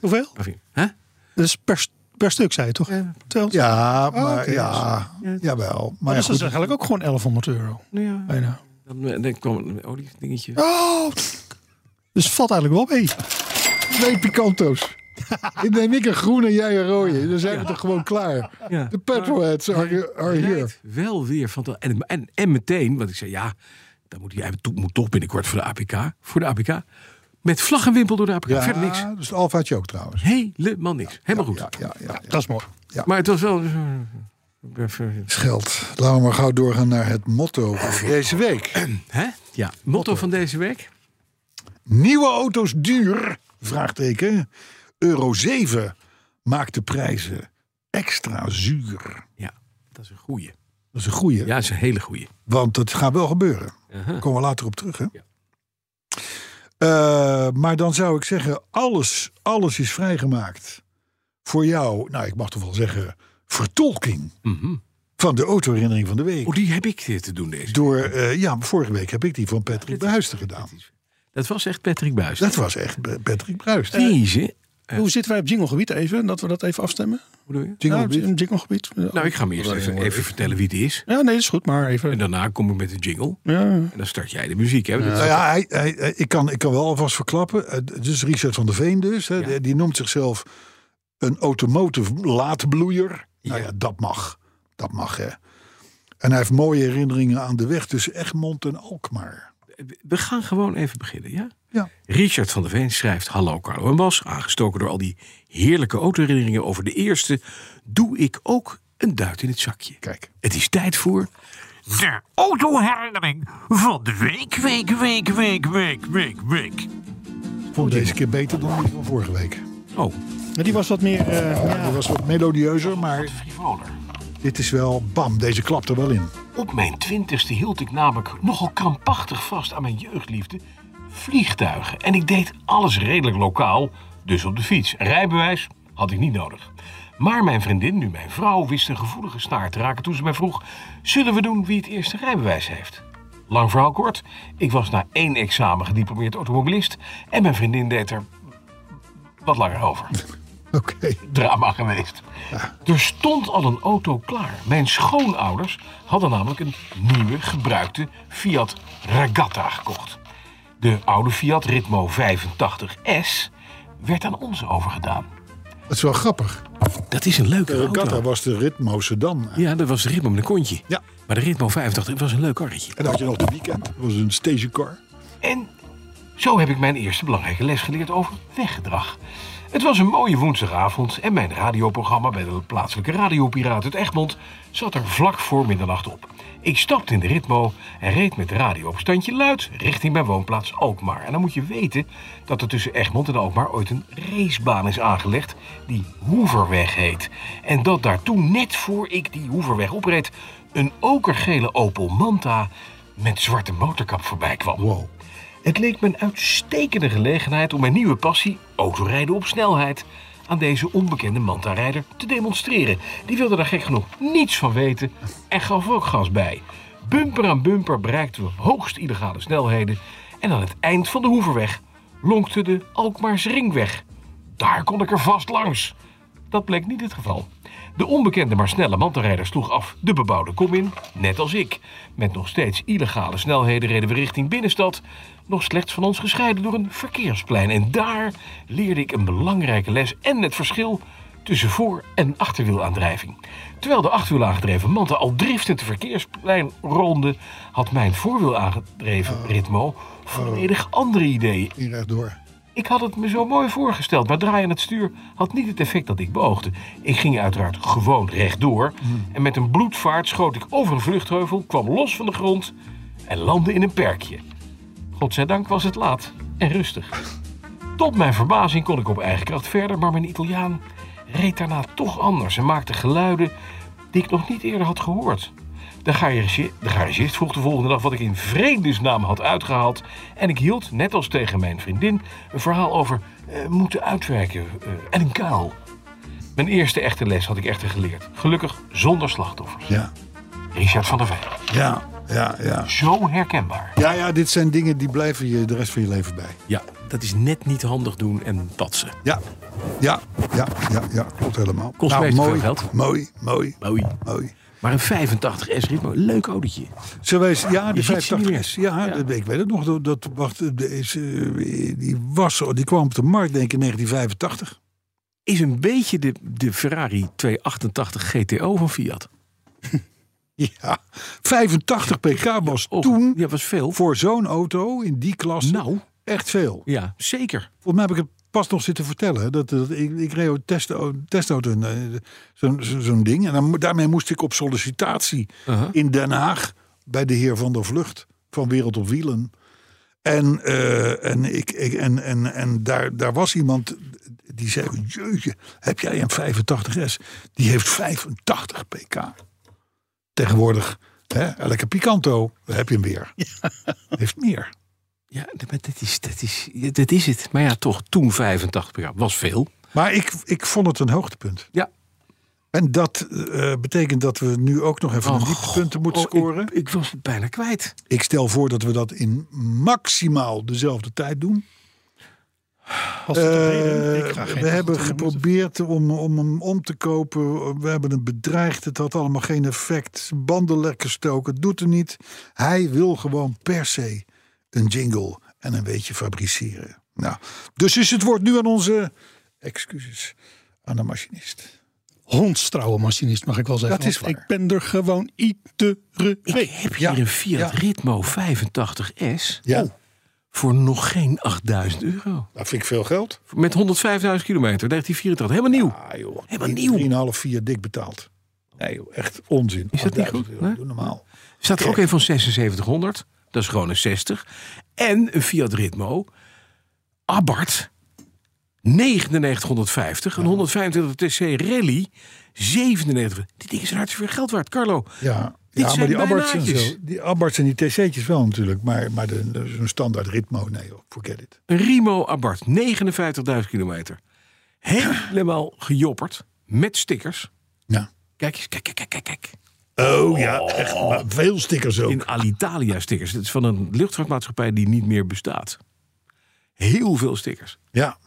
Hoeveel? Hè? Dat is Dus per, per stuk, zei je toch? Terwijl- Ja, maar Oh, oké. ja, jawel. Maar ja, dus dat is goed. eigenlijk ook gewoon 1100 euro. Nou ja, Bijna. dan, eh, dan kwam een oliedingetje. Oh! Dus valt eigenlijk wel mee. Twee Picanto's. Ik neem ik een groene, jij een rode. Dan zijn we toch gewoon klaar. Ja. De petrolheads are, are here. Rijdt wel weer van de, en, en, en meteen, want ik zei ja, dan moet hij, hij to- moet toch binnenkort voor de APK. Voor de APK. Met vlag en wimpel door de APK. Verder niks. Ja, dus de Alfaatje ook trouwens. Helemaal niks. Helemaal goed. Ja, ja, ja. Dat is mooi. Maar het was wel. eh, Even- Scheld. Laten we maar gauw doorgaan naar het motto voor deze week. Hè? Ja. Motto van deze week? Nieuwe auto's duur? Vraagteken. Euro 7 maakt de prijzen extra zuur. Ja, dat is een goeie. Dat is een goeie, Ja, dat is een hele goeie. want dat gaat wel gebeuren. Daar komen we later op terug, hè? Eh, maar dan zou ik zeggen, alles, alles is vrijgemaakt voor jou. Nou, ik mag toch wel zeggen, vertolking Mhm. van de autoherinnering van de week. Oh, die heb ik eh, te doen deze Door, eh, ja, vorige week heb ik die van Patrick Bruisten gedaan. Dat was echt Patrick Buijs. Dat was echt Patrick Bruist. Deze. Eh, Hoe zitten wij op jinglegebied even? Dat we dat even afstemmen? Hoe bedoel je? Ja, een jinglegebied. Nou, ik ga hem eerst even, even vertellen wie het is. Ja, nee, dat is goed, maar En even. daarna kom ik met de jingle. Ja. En dan start jij de muziek. Hè? Nou ja, hij, hij, hij- ik, kan, ik kan wel alvast verklappen. Eh, d- Dus Richard van der Veen dus. Hè, Ja. die, die noemt zichzelf een automotive laatbloeier. Nou ja, dat mag. Dat mag, hè. En hij heeft mooie herinneringen aan de weg tussen Egmond en Alkmaar. we gaan gewoon even beginnen, ja? Ja. Richard van der Veen schrijft... Hallo Carlo en Bas, aangestoken door al die heerlijke autoherinneringen over de eerste... doe ik ook een duit in het zakje. Kijk. Het is tijd voor... De autoherinnering van de week, week, week, week, week, week, week. Vond deze keer beter dan die van vorige week. Oh, Maar die was wat meer. eh, ja. Dat was wat melodieuzer, maar frivoler. dit is wel bam, deze klapt er wel in. Op mijn twintigste hield ik namelijk nogal krampachtig vast aan mijn jeugdliefde vliegtuigen. En ik deed alles redelijk lokaal, dus op de fiets. Een Rijbewijs had ik niet nodig. Maar mijn vriendin, nu mijn vrouw, wist een gevoelige snaar te raken toen ze mij vroeg... zullen we doen wie het eerste rijbewijs heeft? Lang verhaal kort, ik was na één examen gediplomeerd automobilist... en mijn vriendin deed er wat langer over Oké. drama geweest. Er stond al een auto klaar. Mijn schoonouders hadden namelijk een nieuwe gebruikte Fiat Regatta gekocht. De oude Fiat Ritmo 85S werd aan ons overgedaan. Dat is wel grappig. Dat is een leuke De regatta was de Ritmo Sedan. En Ja, dat was de Ritmo met een kontje. Ja. Maar de Ritmo 85 was een leuk karretje. dan had je nog de weekend. Dat was een stagecar. En zo heb ik mijn eerste belangrijke les geleerd over weggedrag. Het was een mooie woensdagavond en mijn radioprogramma bij de plaatselijke radiopiraat uit Egmond zat er vlak voor middernacht op. Ik stapte in de ritmo en reed met de radio op standje luid richting mijn woonplaats Alkmaar. En dan moet je weten dat er tussen Egmond en Alkmaar ooit een racebaan is aangelegd die Hoeverweg heet. En dat daartoe net voor ik die Hoeverweg opreed een okergele Opel Manta met zwarte motorkap voorbij kwam. Wow. Het leek me een uitstekende gelegenheid om mijn nieuwe passie, autorijden op snelheid, aan deze onbekende mantarijder te demonstreren. Die wilde daar gek genoeg niets van weten en gaf ook gas bij. Bumper aan bumper bereikten we hoogst illegale snelheden en aan het eind van de Hoeverweg lonkte de Alkmaars Ringweg. Daar kon ik er vast langs. Dat bleek niet het geval. De onbekende maar snelle mantelrijder sloeg af de bebouwde kom in, net als ik. Met nog steeds illegale snelheden reden we richting binnenstad, nog slechts van ons gescheiden door een verkeersplein. En daar leerde ik een belangrijke les en het verschil tussen voor- en achterwielaandrijving. Terwijl de achterwiel aangedreven Manta al driftend het verkeersplein ronde, had mijn voorwiel aangedreven Ritmo volledig andere ideeën. Ging rechtdoor. Ik had het me zo mooi voorgesteld, maar draaien aan het stuur had niet het effect dat ik beoogde. Ik ging uiteraard gewoon rechtdoor en met een bloedvaart schoot ik over een vluchtheuvel, kwam los van de grond en landde in een perkje. Godzijdank was het laat en rustig. Tot mijn verbazing kon ik op eigen kracht verder, maar mijn Italiaan reed daarna toch anders en maakte geluiden die ik nog niet eerder had gehoord. De garage- de garagist vroeg de volgende dag wat ik in vredesnaam had uitgehaald. En ik hield, net als tegen mijn vriendin, een verhaal over eh, moeten uitwerken eh, en een kuil. Mijn eerste echte les had ik echter geleerd. Gelukkig zonder slachtoffers. Ja. Richard van der Veen. Ja, ja, ja. Zo herkenbaar. Ja, ja, dit zijn dingen die blijven je de rest van je leven bij. Ja, dat is net niet handig doen en patsen. Ja, ja, ja, ja, ja. Klopt helemaal. Nou, Kost mij te veel mooi, geld. mooi, mooi, Mooi. mooi. Maar een 85 S-ritme, leuk autootje. Zullen wij eens- ja, de Je ziet ze niet 85 s ja, dat- ik weet het nog. Dat, dat, wacht, eh, de- is, eh, die, was, zo- die kwam op de markt denk ik in 1985. Is een beetje de, de Ferrari 288 GTO van Fiat. Ja, 85 pk was Oh, toen Ja, was veel. voor zo'n auto in die klasse Nou. echt veel. Ja, zeker. Volgens mij heb ik het pas nog zitten vertellen. hè, Dat, dat, ik, ik reed ook test, testauto in, eh, zo'n zo, zo'n ding. En dan, mo- daarmee moest ik op sollicitatie Uh-huh. in Den Haag bij de heer Van der Vlucht van Wereld op Wielen. En, eh, en, ik, ik, en, en, en daar, daar was iemand die zei: Jeetje, heb jij een 85S? Die heeft 85 pk. Tegenwoordig, hè, elke Picanto, daar heb je hem weer. Heeft meer. Ja, d- maar dat is, dat, is, dat is het. Maar ja, toch, toen 85 per jaar was veel. Maar ik, ik vond het een hoogtepunt. Ja. En dat eh, betekent dat we nu ook nog even een dieptepunten moeten Oh, scoren. Ik, Ik, ik was het bijna kwijt. stel voor dat we dat in maximaal dezelfde tijd doen. Als het Eh, een reden- ik ga geen we hebben achter- geprobeerd om, om hem om te kopen. We hebben hem bedreigd. Het had allemaal geen effect. Banden lek gestoken. Het Doet er niet. Hij wil gewoon per se een jingle en een beetje fabriceren. Nou, dus is het woord nu aan onze excuses aan de machinist. hondstrouwe machinist, mag ik wel zeggen. Dat is Want waar. Ik ben er gewoon iedere Ik week. heb ja, hier een Fiat ja. Ritmo 85S Ja, voor nog geen 8000 euro. dat vind ik veel geld. Met 105.000 kilometer, 1984. Helemaal nieuw. Ah joh, Helemaal nieuw. 3,5, 4 dik betaald. Nee joh, echt onzin. Is dat niet 8000 goed? euro, Nee? Doe normaal. Staat er ook een van 7600. Dat is gewoon een 60. En een Fiat Ritmo. Abarth. 9950. Een 125 TC Rally. 97. Die dingen zijn hartstikke veel geld waard. Carlo, Ja, Dit ja maar zijn die Abbarts en bijnaatjes. zo. Die Abbarts en die TC'tjes wel natuurlijk. Maar, maar de- de- zo'n standaard ritmo, nee joh, forget it. een Rimo Abarth. 59.000 kilometer. Helemaal gejopperd. Met stickers. Ja. Kijk eens, kijk, kijk, kijk, kijk, kijk. Oh ja, echt. Maar veel stickers ook. In Alitalia stickers. Het is van een luchtvaartmaatschappij die niet meer bestaat. Heel veel stickers. Ja.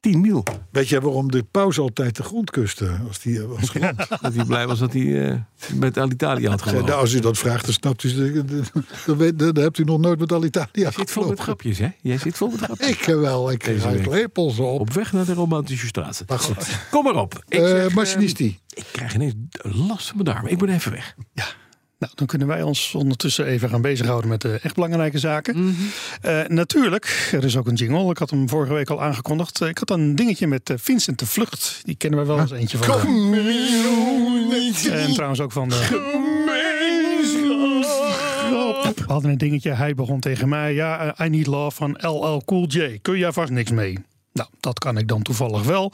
10 mil. Weet je waarom de pauze altijd de grond kuste? Als die eh, was geland? Dat hij blij was dat hij eh, met Alitalia had Zei, gewonnen. nou, als u dat vraagt, dan snapt u. ze- Dan, weet- dan hebt u nog nooit met Alitalia Zit vol met gelopen. grapjes, hè? Jij zit vol met grapjes. Ik eh, wel, ik Deze ruik week. lepels op. Op weg naar de romantische straat. Maar goed, Kom maar op. Ik, Eh, zeg, eh, Machinisti. ik krijg ineens last van mijn darmen. Ik moet even weg. Nou, dan kunnen wij ons ondertussen even gaan bezighouden met de echt belangrijke zaken. Mhm. Eh, natuurlijk, er is ook een jingle. Ik had hem vorige week al aangekondigd. Eh, Ik had een dingetje met eh, Vincent de Vlucht. Die kennen wij wel Ah. eens eentje van. En trouwens ook van de... We hadden een dingetje. Hij begon tegen mij. Ja, eh, I need love van LL Cool J. Kun jij vast niks mee? Nou, dat kan ik dan toevallig wel.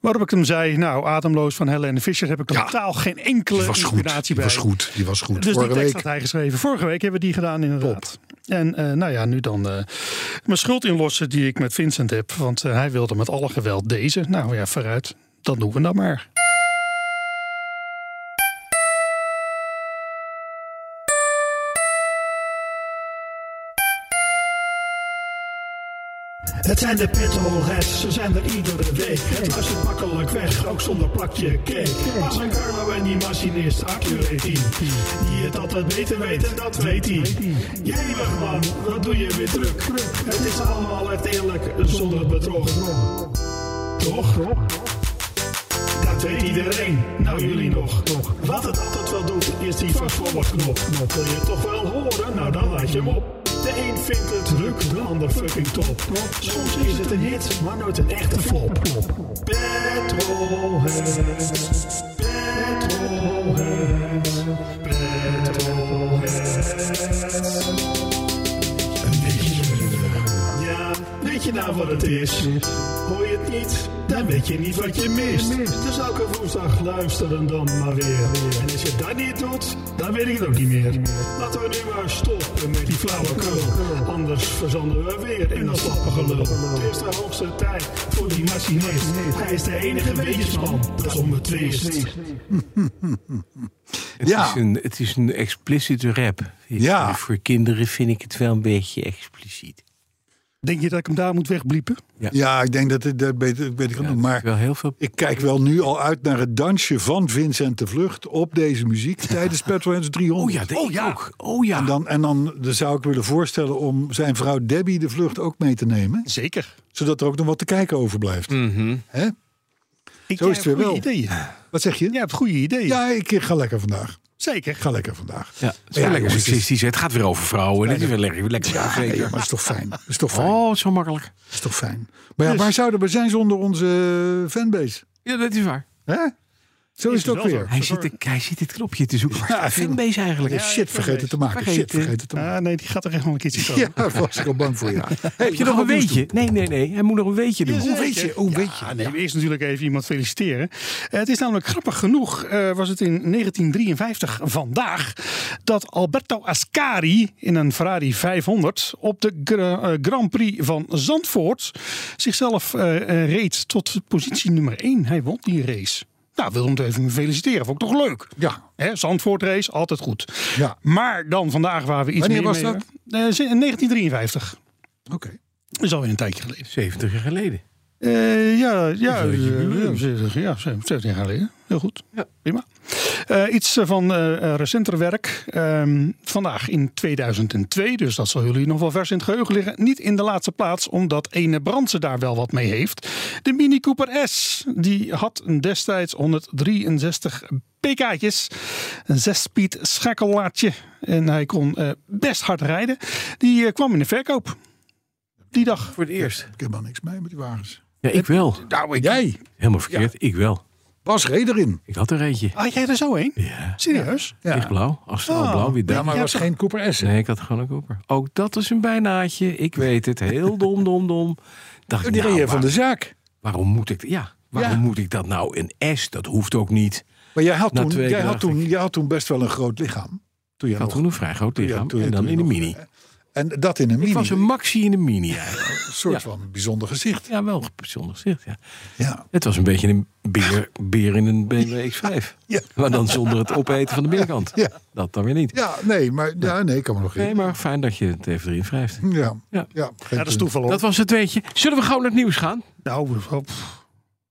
Waarop ik hem zei, nou, ademloos van Helene Fischer heb ik totaal geen enkele die was goed. inspiratie Die bij. was goed. Die was goed. Dus Vorige die tekst week. had hij geschreven. Vorige week hebben we die gedaan inderdaad. En eh, nou ja, nu dan eh, mijn schuld inlossen die ik met Vincent heb. Want eh, hij wilde met alle geweld deze. Nou ja, vooruit. Dat doen we dan maar. Het zijn de petrolheads, ze zijn er iedere week. Het luistert makkelijk weg, ook zonder plakje cake. Maar zijn Carlo en die machinist, Accurate team. Die het altijd beter weet en dat weet hij. Jij weg man, dat doe je weer druk. Het is allemaal echt eerlijk, zonder bedrog. Toch? Dat weet iedereen, nou jullie nog. Wat het altijd wel doet, is die vervolgknop. Wil je toch wel horen? Nou dan laat je hem op. De een vindt het druk, de ander fucking top. Soms is het een hit, maar nooit een echte flop. Petrolheads, petrolheads, petrolheads. Ja, weet je nou wat het is? Hoor je het niet, dan weet je niet wat je mist. Dus elke woensdag luisteren dan maar weer. En als je dat niet doet, dan weet ik het ook niet meer. Laten we nu maar stoppen met die flauwekul. Anders verzanden we weer in dat slappige lul. Het is de hoogste tijd voor die machinist. Hij is de enige weetjesman, dat is onbetwist. Het, Ja. is, een, het is een explicit rap. Ja. Voor kinderen vind ik het wel een beetje expliciet. Denk je dat ik hem daar moet wegbliepen? Ja, ik denk dat ik dat beter, ik beter kan doen. Maar Wel heel veel. ik kijk wel nu al uit naar het dansje van Vincent de Vlucht op deze muziek tijdens Petrolheads 300. Oh ja, dat ik ook. Oh ja. En dan, en dan dan zou ik willen voorstellen om zijn vrouw Debbie de Vlucht ook mee te nemen. Zeker. Zodat er ook nog wat te kijken overblijft. Mhm. Hè? Ik, Zo is het weer wel. Ideeën. Wat zeg je? Jij hebt goede ideeën. Ja, ik ik ga lekker vandaag. Zeker. Ik ga lekker vandaag. Ja, het is wel Ja, lekker jongens, het is- seksistisch. hè. Het gaat weer over vrouwen. Dit is wel lekker. lekker Ja, zeker. maar is toch fijn. Is toch fijn. Oh, zo makkelijk. Dus- Is toch fijn. Maar ja, waar zouden we zijn zonder onze fanbase? Ja, dat is waar. Hè? Zo is, het ook weer. Hij zit, te- hij zit dit knopje te zoeken. Waar is de fanbase eigenlijk? Shit vergeten te maken. Shit Vergeten. vergeten te maken. Ah, nee, die gaat er echt nog een keertje komen. Ja, daar was ik al bang voor je. Heb je nog een weetje? Nee, nee, nee. Hij moet nog een weetje doen. Hoe weet je? Hoe weet je? Ah, nee, eerst natuurlijk even iemand feliciteren. Eh, het is namelijk grappig genoeg, eh, was het in 1953 vandaag, dat Alberto Ascari in een Ferrari 500 op de Gra- eh, Grand Prix van Zandvoort zichzelf eh, eh, reed tot positie nummer 1. Hij won die race. Nou, wil hem even feliciteren. Vond ik toch leuk? Ja. Hè, Zandvoort race, altijd goed. Ja. Maar dan vandaag waren we iets Wanneer meer was mee, dat? hoor. Eh, in 1953. Oké. Dat is alweer een tijdje geleden. 70 jaar geleden. Eh, ja, ja, Dat is wel eh, een jubileum. ja, 70 ja, 17 jaar geleden. Heel goed. Ja. Prima. Eh, Eh, iets eh, van eh, recenter werk. Ehm, vandaag in 2002, dus dat zal jullie nog wel vers in het geheugen liggen. Niet in de laatste plaats, omdat ene Brandse daar wel wat mee heeft. De Mini Cooper S, die had destijds 163 pk'tjes. Een zesspeed schakelaartje. En hij kon eh, best hard rijden. Die eh, kwam in de verkoop. Die dag. Voor het eerst. Ik heb al niks mee met die wagens. Ja, ik wel. Nou, jij. Helemaal verkeerd. Ik wel. Bas reed erin. Ik had er eentje. Had jij er zo een? Ja. Serieus? Ja. Lichtblauw. Astraalblauw. Wie Oh. Ja, denkt? maar was geen Cooper S. hè? Nee, ik had gewoon een koper. Ook dat is een bijnaatje. Ik weet het. Heel dom, dom, dom. Dacht ik, Die nou, reed van waar- de zaak. waarom moet ik... Ja, waarom Ja. moet ik dat nou? Een S, dat hoeft ook niet. Maar jij had, Na toen, twee jij, keer had dacht toen, jij had toen best wel een groot lichaam. Toen jij Ik had nog, toen een vrij groot toen jij- lichaam. toen jij- en dan toen in je de nog- mini. En dat in een mini. Ik was een maxi in de mini eigenlijk. een soort van bijzonder gezicht. Ja, wel bijzonder gezicht, ja. Ja. Het was een beetje een beer, beer in een BMW X5. Ja. Maar dan zonder het opeten van de binnenkant. Ja. Dat dan weer niet. ja, nee, maar ja, nee, ik kan me nog Nee, in. maar fijn dat je het even erin wrijft. Ja, Ja. ja. Ja, dat is toeval hoor. Dat was het weetje. Zullen we gewoon naar het nieuws gaan? Nou, pff,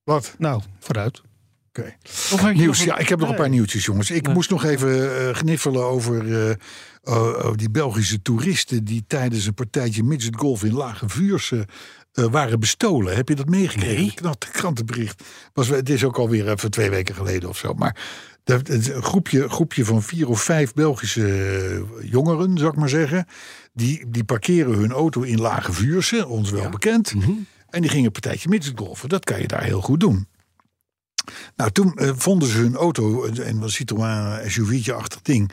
Wat? nou, vooruit. Oké. Of had je Nieuws, nog ja, ik heb nog een paar nieuwtjes, jongens. Ik moest nog even eh, gniffelen over eh, oh, oh, die Belgische toeristen... die tijdens een partijtje midget golf in Lage Vuurse eh, waren bestolen. Heb je dat meegekregen? Nee. Knap krantenbericht. Was, we- het is ook alweer even twee weken geleden of zo. Maar dat- het is een groepje, groepje van vier of vijf Belgische eh, jongeren, zou ik maar zeggen... die, die parkeren hun auto in Lage Vuurse, ons wel bekend... Mhm. En die gingen een partijtje midget golfen. Dat kan je daar heel goed doen. Nou, toen eh, vonden ze hun auto, eh, en was Citroën SUV'tje-achtig ding,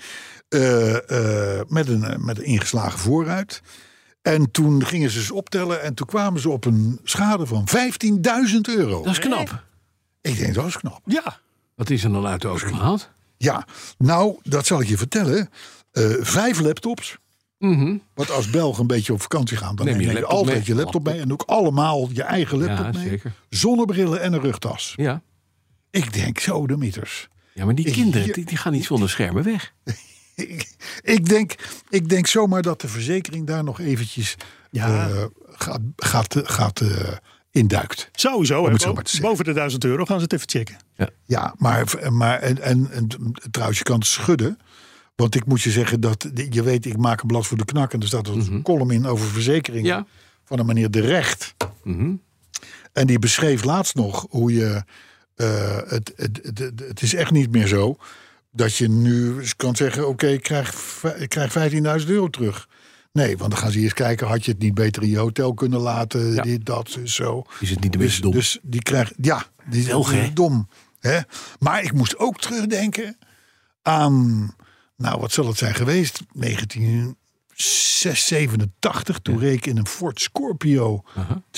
eh, eh, met, een, eh, met een ingeslagen voorruit. En toen gingen ze ze optellen en toen kwamen ze op een schade van 15.000 euro. Dat is knap. Ik denk, dat is knap. Ja. Wat is er dan uit de auto gehaald? Ja, nou, dat zal ik je vertellen. Eh, vijf laptops. Want als Belgen een beetje op vakantie gaan, Mhm. dan Neem neem je je, laptop altijd mee. je laptop mee. En ook allemaal je eigen laptop Ja, mee. zeker. Zonnebrillen en een rugtas. Ja. Ik denk, zo de mieters. Ja, maar die Ik- kinderen, die, die gaan niet zonder schermen weg. ik, ik, denk, ik denk zomaar dat de verzekering daar nog eventjes Ja. eh, gaat, gaat, gaat eh, induikt. Sowieso, hè, het zo bo- maar te zeggen. boven de 1000 euro gaan ze het even checken. Ja, maar, maar en, en, en trouwens, je kan het schudden. Want ik moet je zeggen dat, je weet, ik maak een blad voor de knak. En er staat een column in over verzekeringen Ja. van een meneer De Recht. Mhm. En die beschreef laatst nog hoe je, eh, het, het, het, het- het is echt niet meer zo, dat je nu eens kan zeggen, oké, ik krijg, v- ik krijg 15.000 euro terug. Nee, want dan gaan ze eerst kijken, had je het niet beter in je hotel kunnen laten, Ja. dit, dat, zo. Is het niet een Dus, beetje dom? dus die krijgt, ja, die is Belgen, hè? heel dom. Hè? Maar ik moest ook terugdenken aan, nou wat zal het zijn geweest, 1987. Toen reed ik in een Ford Scorpio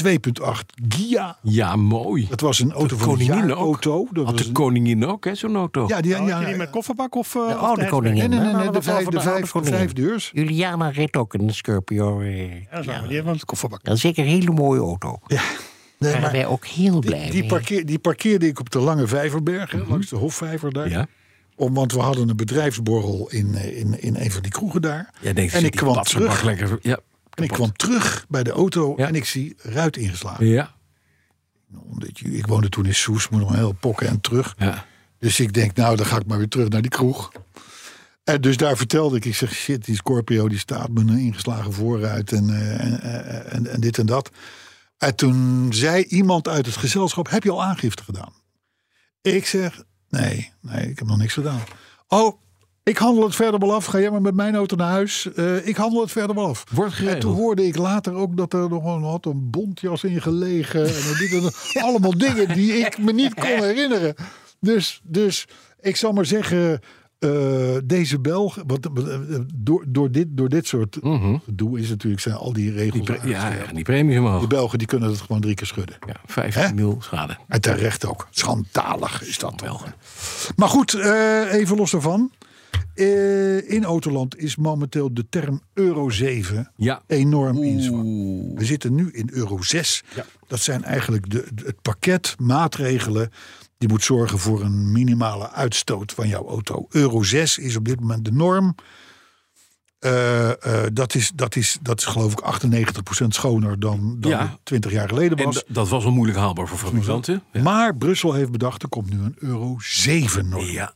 2.8 Gia. Ja, mooi. Dat was een auto van een koningin ook. jaarauto. Dat Had was de een- koningin ook, hè, zo'n auto? Ja, die, Ja, ja, die met kofferbak of... eh, of oh, de hatchback? koningin. Nee, nee, nee, Maar nee, we de vallen vijf, van de de vijf, koningin. vijf deurs. Juliana reed ook een Scorpio. eh. Ja, dat is waar, maar die hebben een kofferbak. Dat is zeker een hele mooie auto. Daar Nee, waren maar wij ook heel blij die, die, mee. Mhm. parkeer, die parkeerde ik op de Lange Vijverberg, hè, langs de Hofvijver daar. Ja. Om, want we hadden een bedrijfsborrel in, eh, in, in een van die kroegen daar. Jij denkt, en zit ik die kwam patsenbak terug. Lekker, ja, En ik kapot. kwam terug bij de auto Ja. en ik zie ruit ingeslagen. Ja, Omdat je, ik woonde toen in Soes, moest nog heel pokken en terug. ja. Dus ik denk, nou, dan ga ik maar weer terug naar die kroeg. En dus daar vertelde ik, ik zeg, shit, die Scorpio die staat met een ingeslagen vooruit en, eh, en, eh, en, en dit en dat. En toen zei iemand uit het gezelschap, heb je al aangifte gedaan? Ik zeg, nee, nee, ik heb nog niks gedaan. Oh, ik handel het verder wel af. Ga jij maar met mijn auto naar huis. Eh, ik handel het verder wel af. Wordt geregeld. En toen hoorde ik later ook dat er nog een, had een bontjas in gelegen. En dit en dat. allemaal dingen die ik me niet kon herinneren. Dus, dus ik zal maar zeggen, eh, deze Belg... Wat, wat, eh, door, door, dit, door dit soort gedoe is natuurlijk, zijn al die regels... Mhm. Die pre- ja, aangesteld. ja, die premies Die omhoog. Belgen die kunnen het gewoon drie keer schudden. Ja, 15 Hè? mil schade. En terecht ook. Schandalig is dat wel. Wel. Maar goed, eh, even los daarvan. Eh, in Autoland is momenteel de term euro 7 Ja. enorm in zwang. We zitten nu in euro 6. Dat zijn eigenlijk de, de- het pakket maatregelen... die moet zorgen voor een minimale uitstoot van jouw auto. Euro 6 is op dit moment de norm. Eh, eh, dat, is, dat, is, dat is geloof ik 98% schoner dan, dan Ja. het 20 jaar geleden En was. da- dat was al moeilijk haalbaar voor fabrikanten. Maar Brussel heeft bedacht, er komt nu een euro 7 norm. Ja.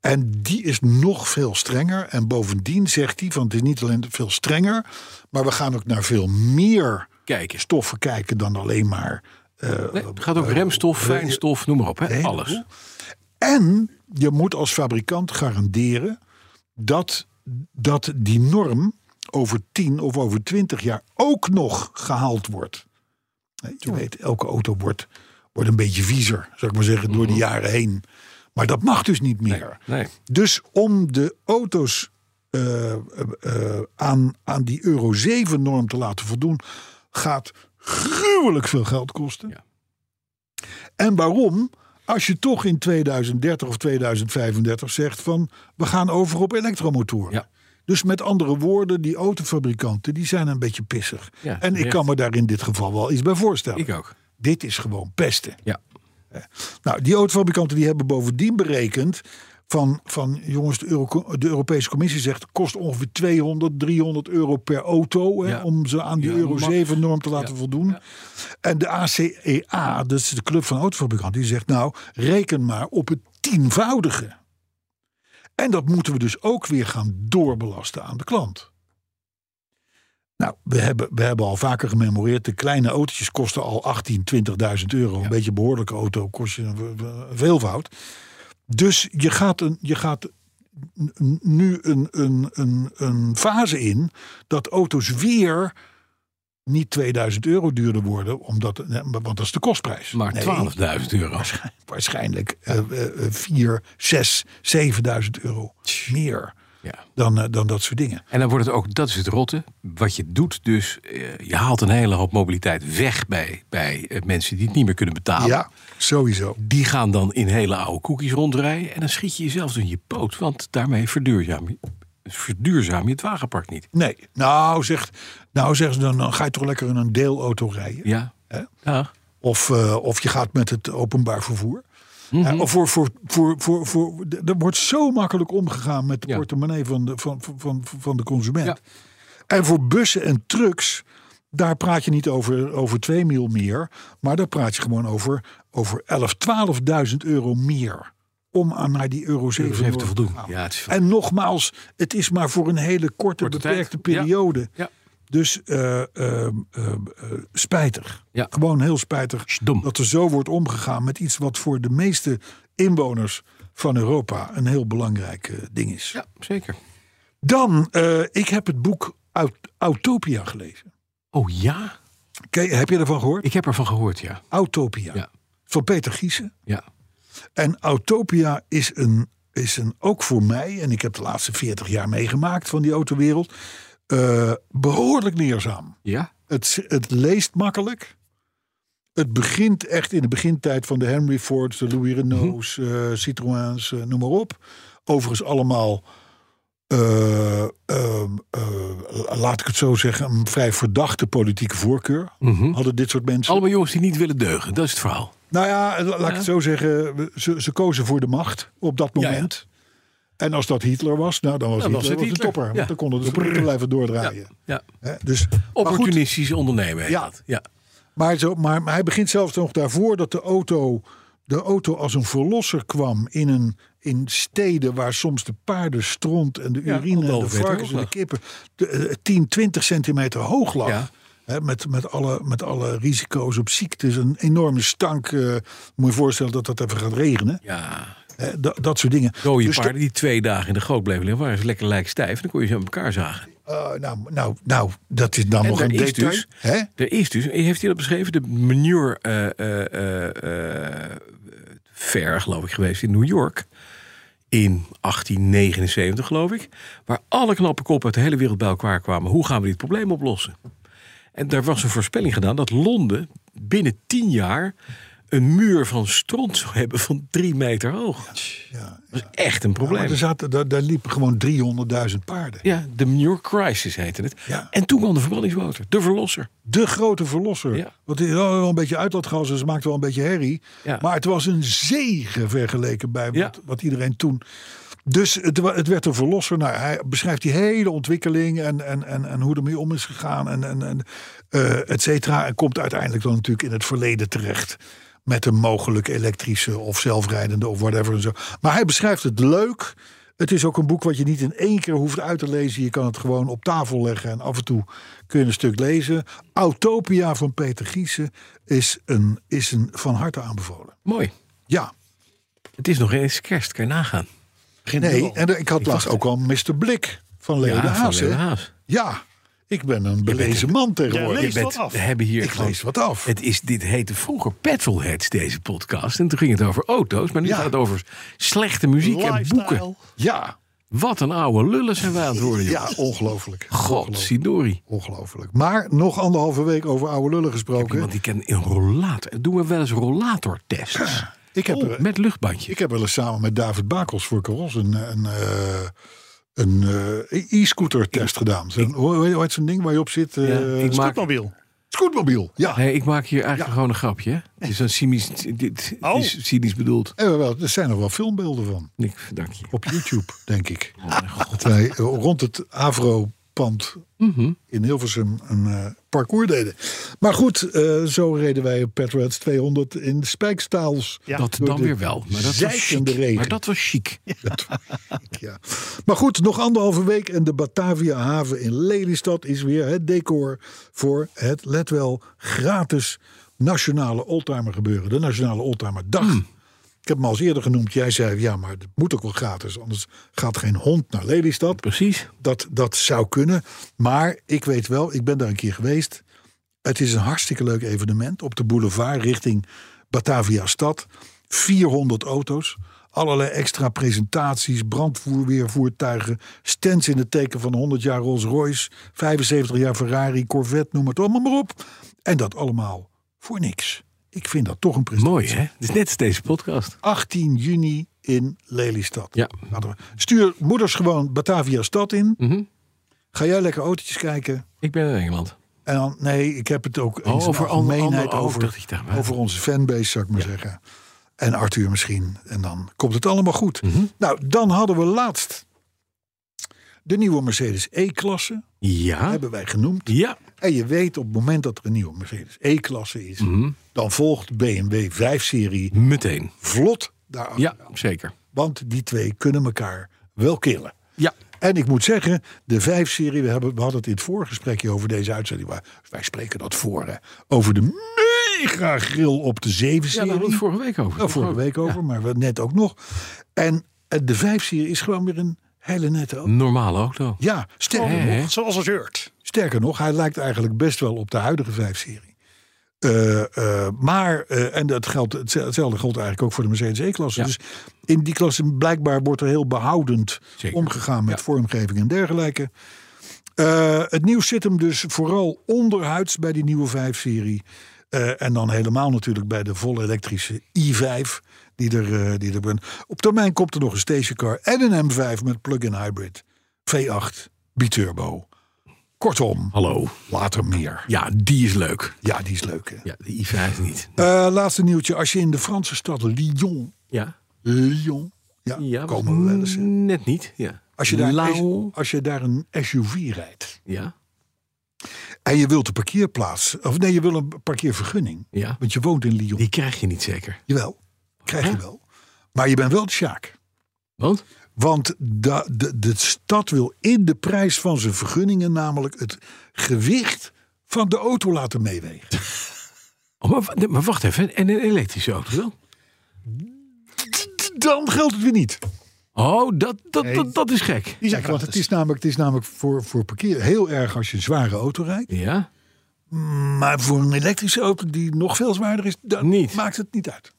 En die is nog veel strenger. En bovendien zegt hij, van het is niet alleen veel strenger, maar we gaan ook naar veel meer Kijken. stoffen kijken dan alleen maar. eh, Nee, het gaat ook remstof, fijnstof, noem maar op. Hè? Nee, Alles. En je moet als fabrikant garanderen dat, dat die norm over 10 of over 20 jaar ook nog gehaald wordt. Nee, Je weet, elke auto wordt, wordt een beetje viezer, zou ik maar zeggen, door de jaren heen. Maar dat mag dus niet meer. Mhm. Nee. Dus om de auto's eh, eh, eh, aan, aan die Euro 7-norm te laten voldoen, gaat gruwelijk veel geld kosten. Ja. En waarom? Als je toch in 2030 of 2035 zegt van we gaan over op elektromotoren. Ja. Dus met andere woorden, die autofabrikanten die zijn een beetje pissig. Ja, en ik terecht. kan me daar in dit geval wel iets bij voorstellen. Ik ook. Dit is gewoon pesten. Ja. Nou, die autofabrikanten die hebben bovendien berekend van, van jongens, de, Euro- de Europese Commissie zegt het kost ongeveer 200, 300 euro per auto hè, Ja. om ze aan die Ja, Euro max. 7 norm te laten Ja. voldoen. En de ACEA, dat is dus de club van autofabrikanten, die zegt nou reken maar op het tienvoudige. En dat moeten we dus ook weer gaan doorbelasten aan de klant. Nou, we hebben, we hebben al vaker gememoreerd. De kleine autootjes kosten al 18, 20.000 euro. Een beetje een behoorlijke auto kost je een, een veelvoud. Dus je gaat, een, je gaat n- nu een, een, een, een fase in dat auto's weer niet 2000 euro duurder worden, omdat, nee, want dat is de kostprijs. Maar Nee, 12.000 euro. waarschijnlijk eh eh, eh, 4, 6, 7000 euro meer Ja. dan, eh, dan dat soort dingen. En dan wordt het ook, dat is het rotte. Wat je doet dus, eh, je haalt een hele hoop mobiliteit weg bij, bij eh, mensen die het niet meer kunnen betalen. Ja, sowieso. Die gaan dan in hele oude koekjes rondrijden. En dan schiet je jezelf in je poot. Want daarmee verduurzaam je, verduurzaam je het wagenpark niet. Nee, nou zegt, nou zegt ze dan, dan ga je toch lekker in een deelauto rijden. Ja. Hè? ja. Of, eh, of je gaat met het openbaar vervoer. Mhm. Eh, of voor, voor, voor, voor, voor, d- er wordt zo makkelijk omgegaan met de Ja. portemonnee van de, van, van- van, van de consument. Ja. En voor bussen en trucks, daar praat je niet over, over 2 mil meer. Maar daar praat je gewoon over, over 11, 12.000 euro meer. Om aan naar die euro 7 even te norm voldoen. gaan. Ja, het is veel. En nogmaals, het is maar voor een hele korte, Korte tijd. beperkte Ja. periode. Ja. Dus eh, eh, eh, eh, spijtig. Ja. Gewoon heel spijtig Is dom. dat er zo wordt omgegaan met iets wat voor de meeste inwoners van Europa een heel belangrijk eh, ding is. ja, zeker. Dan, eh, ik heb het boek Aut- Autopia gelezen. Oh ja? Ken je- heb je ervan gehoord? Ik heb ervan gehoord, ja. Autopia. Ja. Van Peter Giesen. Ja. En Autopia is een, is een, ook voor mij, en ik heb de laatste 40 jaar meegemaakt van die autowereld, eh, behoorlijk leerzaam. Ja? Het, het leest makkelijk. Het begint echt in de begintijd van de Henry Fords, de Louis Renaults, eh, Citroëns, eh, noem maar op. Overigens allemaal, eh, ehm, eh, laat ik het zo zeggen, een vrij verdachte politieke voorkeur. Hadden dit soort mensen. Allemaal jongens die niet willen deugen. Dat is het verhaal. Nou ja, la- laat ik het zo zeggen. we- Ze, ze kozen voor de macht op dat Ja, ja. moment. En als dat Hitler was, nou, dan was Dan was Hitler het was een Hitler. topper. Ja. Want dan konden ze blijven doordraaien. Ja. Hè, Dus, maar goed, Opportunistisch ondernemen heet Ja. dat. Ja. maar, zo, maar, maar hij begint zelfs nog daarvoor dat de auto, de auto als een verlosser kwam in, een, in steden waar soms de paarden stront en de Ja, urine en de anderhalve meter varkens en hoog de lag. kippen de, eh, 10, 20 centimeter hoog lag. Ja. Hè, met, met, alle, met alle risico's op ziektes, een enorme stank. eh, moet je voorstellen dat dat even gaat regenen. Ja. Hè, Eh, da- dat soort dingen. Dode Dus paarden die twee dagen in de goot bleven liggen, waren ze lekker lijkstijf. Dan kon je ze aan elkaar zagen. dat- eh, nou, nou, nou, dat is dan En nog daar een is detail. dus- hè? Er is dus, heeft hij dat beschreven, de manure eh, eh, eh, eh, fair, geloof ik, geweest in New York. In 1879, geloof ik. Waar alle knappe koppen uit de hele wereld bij elkaar kwamen. Hoe gaan we dit probleem oplossen? En daar was een voorspelling gedaan dat Londen binnen tien jaar een muur van stront zou hebben van drie meter hoog. Ja, Dat is echt een probleem. maar er zaten, daar, daar liepen gewoon 300.000 paarden. Ja, de manure crisis heette het. Ja. En toen kwam de verbrandingsmotor, de verlosser. De grote verlosser. Ja. Want hij had wel een beetje uitlaatgas, dus het maakte wel een beetje herrie. Ja. Maar het was een zegen vergeleken bij wat, Ja. wat iedereen toen... Dus het, wa- het werd een verlosser. Nou, hij beschrijft die hele ontwikkeling en, en, en, en hoe ermee om is gegaan en, en, en eh, et cetera. En komt uiteindelijk dan natuurlijk in het verleden terecht. Met een mogelijk elektrische of zelfrijdende of whatever. En zo. Maar hij beschrijft het leuk. Het is ook een boek wat je niet in één keer hoeft uit te lezen. Je kan het gewoon op tafel leggen en af en toe kun je een stuk lezen. Autopia van Peter Giesen is, een, is een van harte aanbevolen. Mooi. Ja, Het is nog eens kerst, kan je nagaan. nee, en ik had laatst ook al Mr. Blik van Leo Ja, de van Haas. Leo hè? de Haas. Ja, ik ben een belezen man tegenwoordig. leest Je wat af. we hebben hier Ik gewoon- lees wat af. Het is, dit heette vroeger Petrolheads, deze podcast. En toen ging het over auto's, maar nu Ja. gaat het over slechte muziek en boeken. Lifestyle. Ja, Wat een oude lullen zijn wij aan het worden, joh. ja ongelooflijk. God, Sidori. Ongelooflijk. Maar nog anderhalve week over oude lullen gesproken. Iemand die kent een rollator. Doen we wel eens rollatortests. Ik heb, er- Met luchtbandje. ik heb wel eens samen met David Bakels voor Caros een, een, eh, een eh, e-scooter test gedaan. Zo'n- hoe, hoe hoe heet zo'n ding waar je op zit? Eh, ik maak, Scootmobiel. Scootmobiel, ja. nee, ik maak hier eigenlijk gewoon een grapje. hè. Het is een cynisch, dit Oh. is cynisch bedoeld. En wel, er zijn nog wel filmbeelden van Nick, dank je. op YouTube, denk ik. Dat wij eh, rond het Avro-pand Mhm. in Hilversum een eh, parcours deden. Maar goed, eh, zo reden wij op Petroheads 200 in Spijkstaals. Ja. dat door dan de weer wel. Maar dat, was zeikende chic. regen. maar dat was chic. Dat weet ik, ja. Maar goed, nog anderhalve week en de Batavia haven in Lelystad is weer het decor voor het, let wel, gratis nationale oldtimer gebeuren. De Nationale Oldtimer Dag. Mm. Ik heb hem al eens eerder genoemd. Jij zei, ja, maar het moet ook wel gratis. Anders gaat geen hond naar Lelystad. Precies. Dat, dat zou kunnen. Maar ik weet wel, ik ben daar een keer geweest. Het is een hartstikke leuk evenement op de boulevard richting Batavia stad. 400 auto's, allerlei extra presentaties, brandvoerweervoertuigen, stands in het teken van 100 jaar Rolls-Royce, 75 jaar Ferrari, Corvette, noem het allemaal maar op. En dat allemaal voor niks. Ik vind dat toch een prestatie. Mooi, hè? Het is net als deze podcast. 18 juni in Lelystad. Ja. Laten we- Stuur moeders gewoon Batavia stad in. Mhm. Ga jij lekker autootjes kijken. Ik ben in Engeland. En dan, nee, ik heb het ook eens over in ander- algemeenheid ander- oh, dacht over, ik daar maar. over onze fanbase, zou ik maar zeggen. En Arthur misschien. En dan komt het allemaal goed. Mhm. Nou, dan hadden we laatst de nieuwe Mercedes E-klasse. Ja. Hebben wij genoemd. Ja. En je weet op het moment dat er een nieuwe Mercedes E-klasse is... dan volgt BMW 5-serie Mhm. Meteen. vlot daarachter. Ja, zeker. Want die twee kunnen elkaar wel killen. Ja. En ik moet zeggen, de 5-serie, we, hebben- we hadden het in het voorgesprekje over deze uitzending. Maar wij spreken dat voor, hè, over de mega grill op de Ja, daar 7-serie. hadden we het vorige week over. Nou, vorige week over, maar we- net ook nog. En eh, de 5-serie is gewoon weer een hele nette auto. Normale auto. Ja, sterker hè, hè? nog, Zoals het heurt. sterker nog, hij lijkt eigenlijk best wel op de huidige 5-serie. Eh, eh, maar, eh, en dat geldt, hetzelfde geldt eigenlijk ook voor de Mercedes E-klasse. Ja. Dus in die klasse blijkbaar wordt er heel behoudend Zeker. omgegaan met Ja. vormgeving en dergelijke. Eh, het nieuws zit hem dus vooral onderhuids bij die nieuwe 5-serie. Eh, en dan helemaal natuurlijk bij de volle elektrische i5 die er, eh, die er bent. Op termijn komt er nog een stationcar en een M5 met plug-in hybrid. V8, biturbo. Kortom, Hallo. later meer. Ja, die is leuk. Ja, die is leuk. Hè? Ja, de i5 niet. Eh, laatste nieuwtje. Als je in de Franse stad Lyon... Ja. Lyon? Ja, ja komen we wel eens. hè. Net niet. Ja. Als je, daar Lauw. een, als je daar een SUV rijdt Ja. en je wilt een parkeerplaats... of nee, je wil een parkeervergunning, Ja. want je woont in Lyon. Die krijg je niet zeker. Jawel, krijg je wel. Maar je bent wel de sjaak. Want? Want da- de, de stad wil in de prijs van zijn vergunningen... namelijk het gewicht van de auto laten meewegen. Oh, maar, wa- maar wacht even. En een elektrische auto wel? Dan geldt het weer niet. Oh, dat, dat, dat, dat is gek. Die zijn Kijk, want nou, het gratis. is namelijk, het is namelijk voor, voor parkeer heel erg als je een zware auto rijdt. Ja. Maar voor een elektrische auto die nog veel zwaarder is, dan Niet. maakt het niet uit.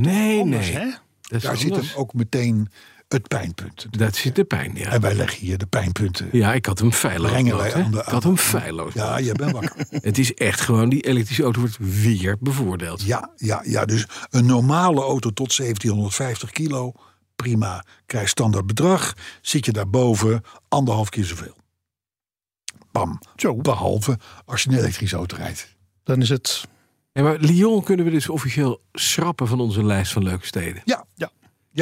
Nee, Anders, nee. hè? Dat is Daar zit anders. hem ook meteen het pijnpunt. Dat zit de pijn, ja. En wij leggen hier de pijnpunten. Ja, ik had hem feilloos. Brengen wij beloofd, hè. aan de- Ik had hem feilloos. Ja, jij bent wakker. Het is echt gewoon, die elektrische auto wordt weer bevoordeeld. Ja, ja, ja, dus een normale auto tot 1750 kilo, prima. Krijg standaard bedrag. Zit je daarboven, anderhalf keer zoveel. Bam. Behalve als je een elektrische auto rijdt. Dan is het... Ja, maar Lyon kunnen we dus officieel schrappen van onze lijst van leuke steden. Ja, Ja.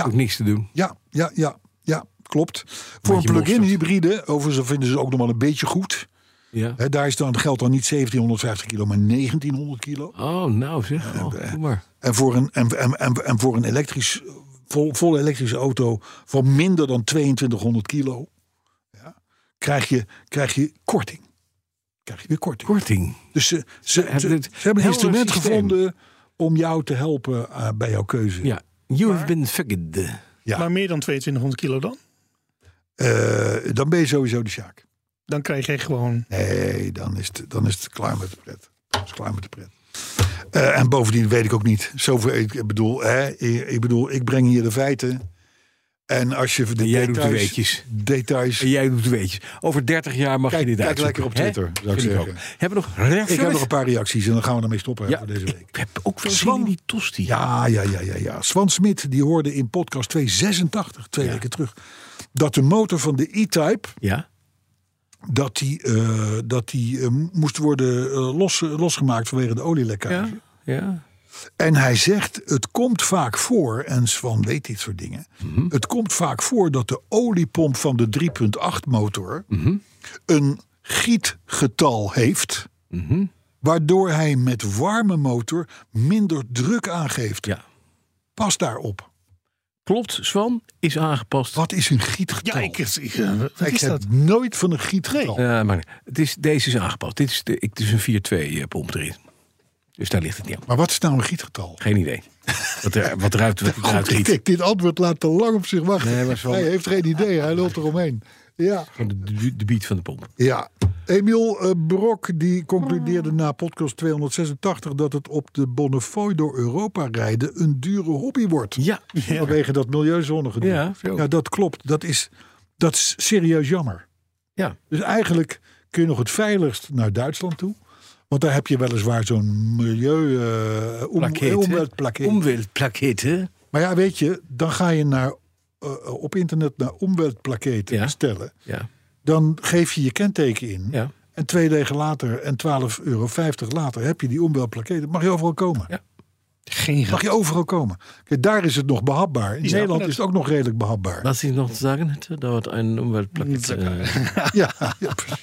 Ook niks te doen. Ja, ja, ja, ja, klopt. Voor een Beetje plug-in mosterd. hybride, overigens dat vinden ze ook nog wel een beetje goed. Ja. Hè, daar is dan, geldt dan niet 1750 kilo, maar 1900 kilo. Oh, nou zeg. Oh, doe maar. En voor een, en, en, en, en voor een elektrisch, vol, vol elektrische auto van minder dan 2200 kilo ja, krijg, je, krijg je korting. Krijg je weer korting. Korting. Dus ze, ze, hebben ze, het ze hebben helder een instrument systeem. gevonden om jou te helpen eh, bij jouw keuze. Ja. You have been fucked. Ja. Maar meer dan 2200 kilo dan? Eh, dan ben je sowieso de Sjaak. Dan krijg je gewoon... Nee, dan is het, dan is het klaar met de pret. Dan is het klaar met de pret. Eh, en bovendien weet ik ook niet. Zoveel, ik, bedoel, hè, ik, ik bedoel, ik breng hier de feiten. En als je de En jij doet de details, weetjes. details En jij doet de weetjes. Over 30 jaar mag Kijk- je dit kijk uitzoeken, lekker op hè? Twitter, zou ik Vind zeggen. ook. Hebben we nog reacties? Ik heb nog een paar reacties en dan gaan we ermee stoppen hè, Ja, voor deze week. ik heb ook wel zin Zwan. in die tosti. Ja, ja, ja, ja, ja. Swan Smit die hoorde in podcast 286, twee weken terug, dat de motor van de E-Type Ja? dat die, eh, dat die eh, moest worden eh, los, losgemaakt vanwege de olielekkage. Ja? Ja? En hij zegt, het komt vaak voor, en Swan weet dit soort dingen... Mhm. het komt vaak voor dat de oliepomp van de 3.8-motor... Mhm. een gietgetal heeft... Mhm. waardoor hij met warme motor minder druk aangeeft. Ja. Pas daarop. Klopt, Swan is aangepast. Wat is een gietgetal? Ja, ik, ik, eh, wat Ik is heb dat? nooit van een gietgetal. Eh, maar het is, deze is aangepast. Dit is, de, ik- het is een 4-2 pomp erin. Dus daar ligt het niet aan. Maar wat is nou een gietgetal? Geen idee. Wat, er, wat eruit, wat eruit Goed, ik giet. denk, dit antwoord laat te lang op zich wachten. Nee, maar Swan- Hij heeft geen idee, hij lult eromheen. Ja. Gewoon De, de, de beat van de pomp. Ja. Emiel eh, Brok die concludeerde na podcast 286 dat het op de Bonnefoy door Europa rijden een dure hobby wordt. Ja. Vanwege dat milieuzonnige gedoe. Ja, zo. ja, dat klopt. Dat is, dat is serieus jammer. Ja. Dus eigenlijk kun je nog het veiligst naar Duitsland toe. Want daar heb je weliswaar zo'n milieu eh om- Plakkeet, omweltplakkeet. Omweltplakketten. Maar ja, weet je, dan ga je naar, eh, op internet naar omweltplakketten Ja. stellen. Ja. Dan geef je je kenteken in. Ja. En twee dagen later en 12,50 euro later heb je die omwelplakketten. Mag je overal komen. Ja. Geen Mag geld. je overal komen. Kijk, daar is het nog behapbaar. In Ja, Nederland dat- is het ook nog redelijk behapbaar. Laat zich nog zeggen, eh, dat een omweltplakket. eh, Ja, ja, precies.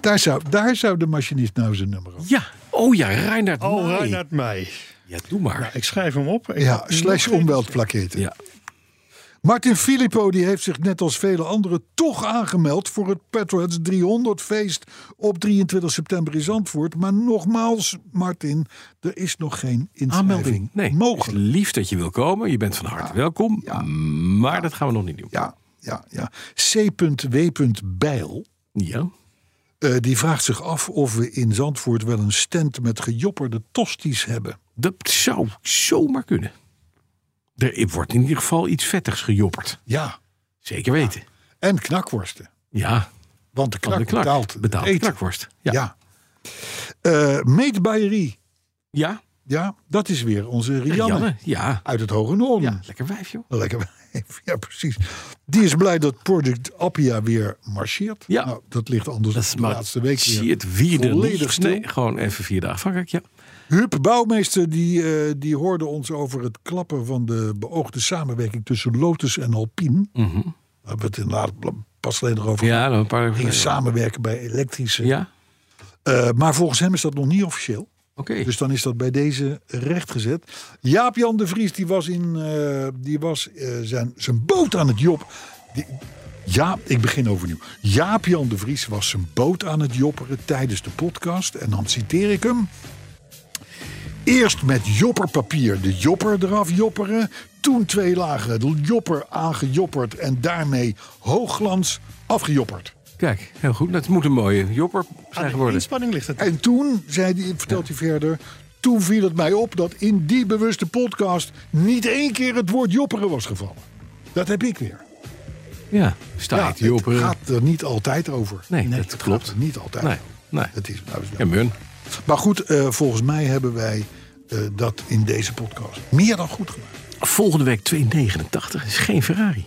Daar zou, daar zou de machinist nou zijn nummer op. ja. Oh ja, Reinhard. Oh, Meij. Reinhard Mei. Ja, doe maar. Ik schrijf hem op. Ik Ja, heb nog slash geen- omweltplakketten. Ja. Martin Filippo die heeft zich net als vele anderen toch aangemeld voor het Petroheads 300 feest op 23 september in Zandvoort. Maar nogmaals, Martin, er is nog geen inschrijving Aanmelding. Nee. mogelijk. Het is Lief dat je wil komen. Je bent van harte welkom. Maar dat gaan we nog niet doen. Ja, ja, ja. C.W. Bijl. Ja. eh, die vraagt zich af of we in Zandvoort wel een stand met gejopperde tosties hebben. Dat zou zomaar kunnen. Er wordt in ieder geval iets vettigs gejopperd. Ja. Zeker weten. En knakworsten. Ja, Want de knak, van de knak. betaalt het betaalt de eten. knakworst. Ja. Ja. Ja. Eh, Meet Bayerie. ja, Ja, dat is weer onze Rianne. Janne. Ja. Uit het Hoge Noorden. Eh, ja, lekker wijf joh. Lekker. Ja, precies. Die is blij dat Project Appia weer marcheert. Ja. Nou, dat ligt anders Dat dan is de laatste week eh, Zie weer. het wie er volledig niet. stil. Nee, gewoon even vier dagen Frankrijk, ja. Huub Bouwmeester die, eh, die hoorde ons over het klappen van de beoogde samenwerking tussen Lotus en Alpine. We hebben het inderdaad pas alleen erover gehad. Mhm. Ja, dan een paar dagen Gingen geleden. samenwerken bij elektrische. Ja, Eh, maar volgens hem is dat nog niet officieel. oké. Dus dan is dat bij deze rechtgezet. Jaap-Jan de Vries die was, in, eh, die was eh, zijn, zijn boot aan het job. Die, ja, ik begin overnieuw. Jaap-Jan de Vries was zijn boot aan het jopperen tijdens de podcast. En dan citeer ik hem. Eerst met jopperpapier de jopper eraf jopperen. Toen twee lagen de jopper aangejopperd en daarmee hoogglans afgejopperd. Kijk, heel goed. Dat moet een mooie jopper Aan Ah, zijn de geworden. inspanning ligt het. En toen, zei die, vertelt hij verder, toen viel het mij op dat in die bewuste podcast niet één keer het woord jopperen was gevallen. Dat heb ik weer. Ja, staat het jopper. gaat er niet altijd over. Nee, dat het klopt. gaat er niet altijd Nee, over. nee. Het is, nou, is nou- Ja, Mun. Maar goed, eh, volgens mij hebben wij eh, dat in deze podcast meer dan goed gemaakt. Volgende week 2,89 is geen Ferrari.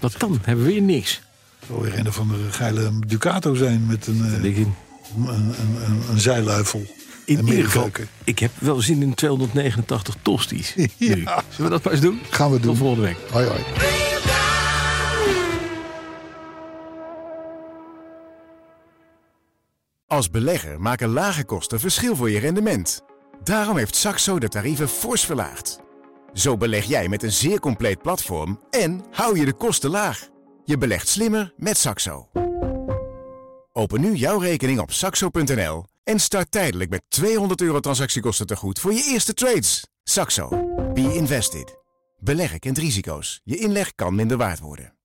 Wat dan? Hebben we weer niks. Het zal weer een van de geile Ducato zijn met een, eh, Dik in. een, een, een, een zijluifel. In En ieder geval, middenveuken. ik heb wel zin in 289 tosties. nu. Ja. Zullen we dat maar eens doen? Gaan we doen. Tot volgende week. Hoi hoi. Als belegger maken lage kosten verschil voor je rendement. Daarom heeft Saxo de tarieven fors verlaagd. Zo beleg jij met een zeer compleet platform en hou je de kosten laag. Je belegt slimmer met Saxo. Open nu jouw rekening op saxo.nl en start tijdelijk met 200 euro transactiekosten te goed voor je eerste trades. Saxo. Be invested. Beleggen kent risico's. Je inleg kan minder waard worden.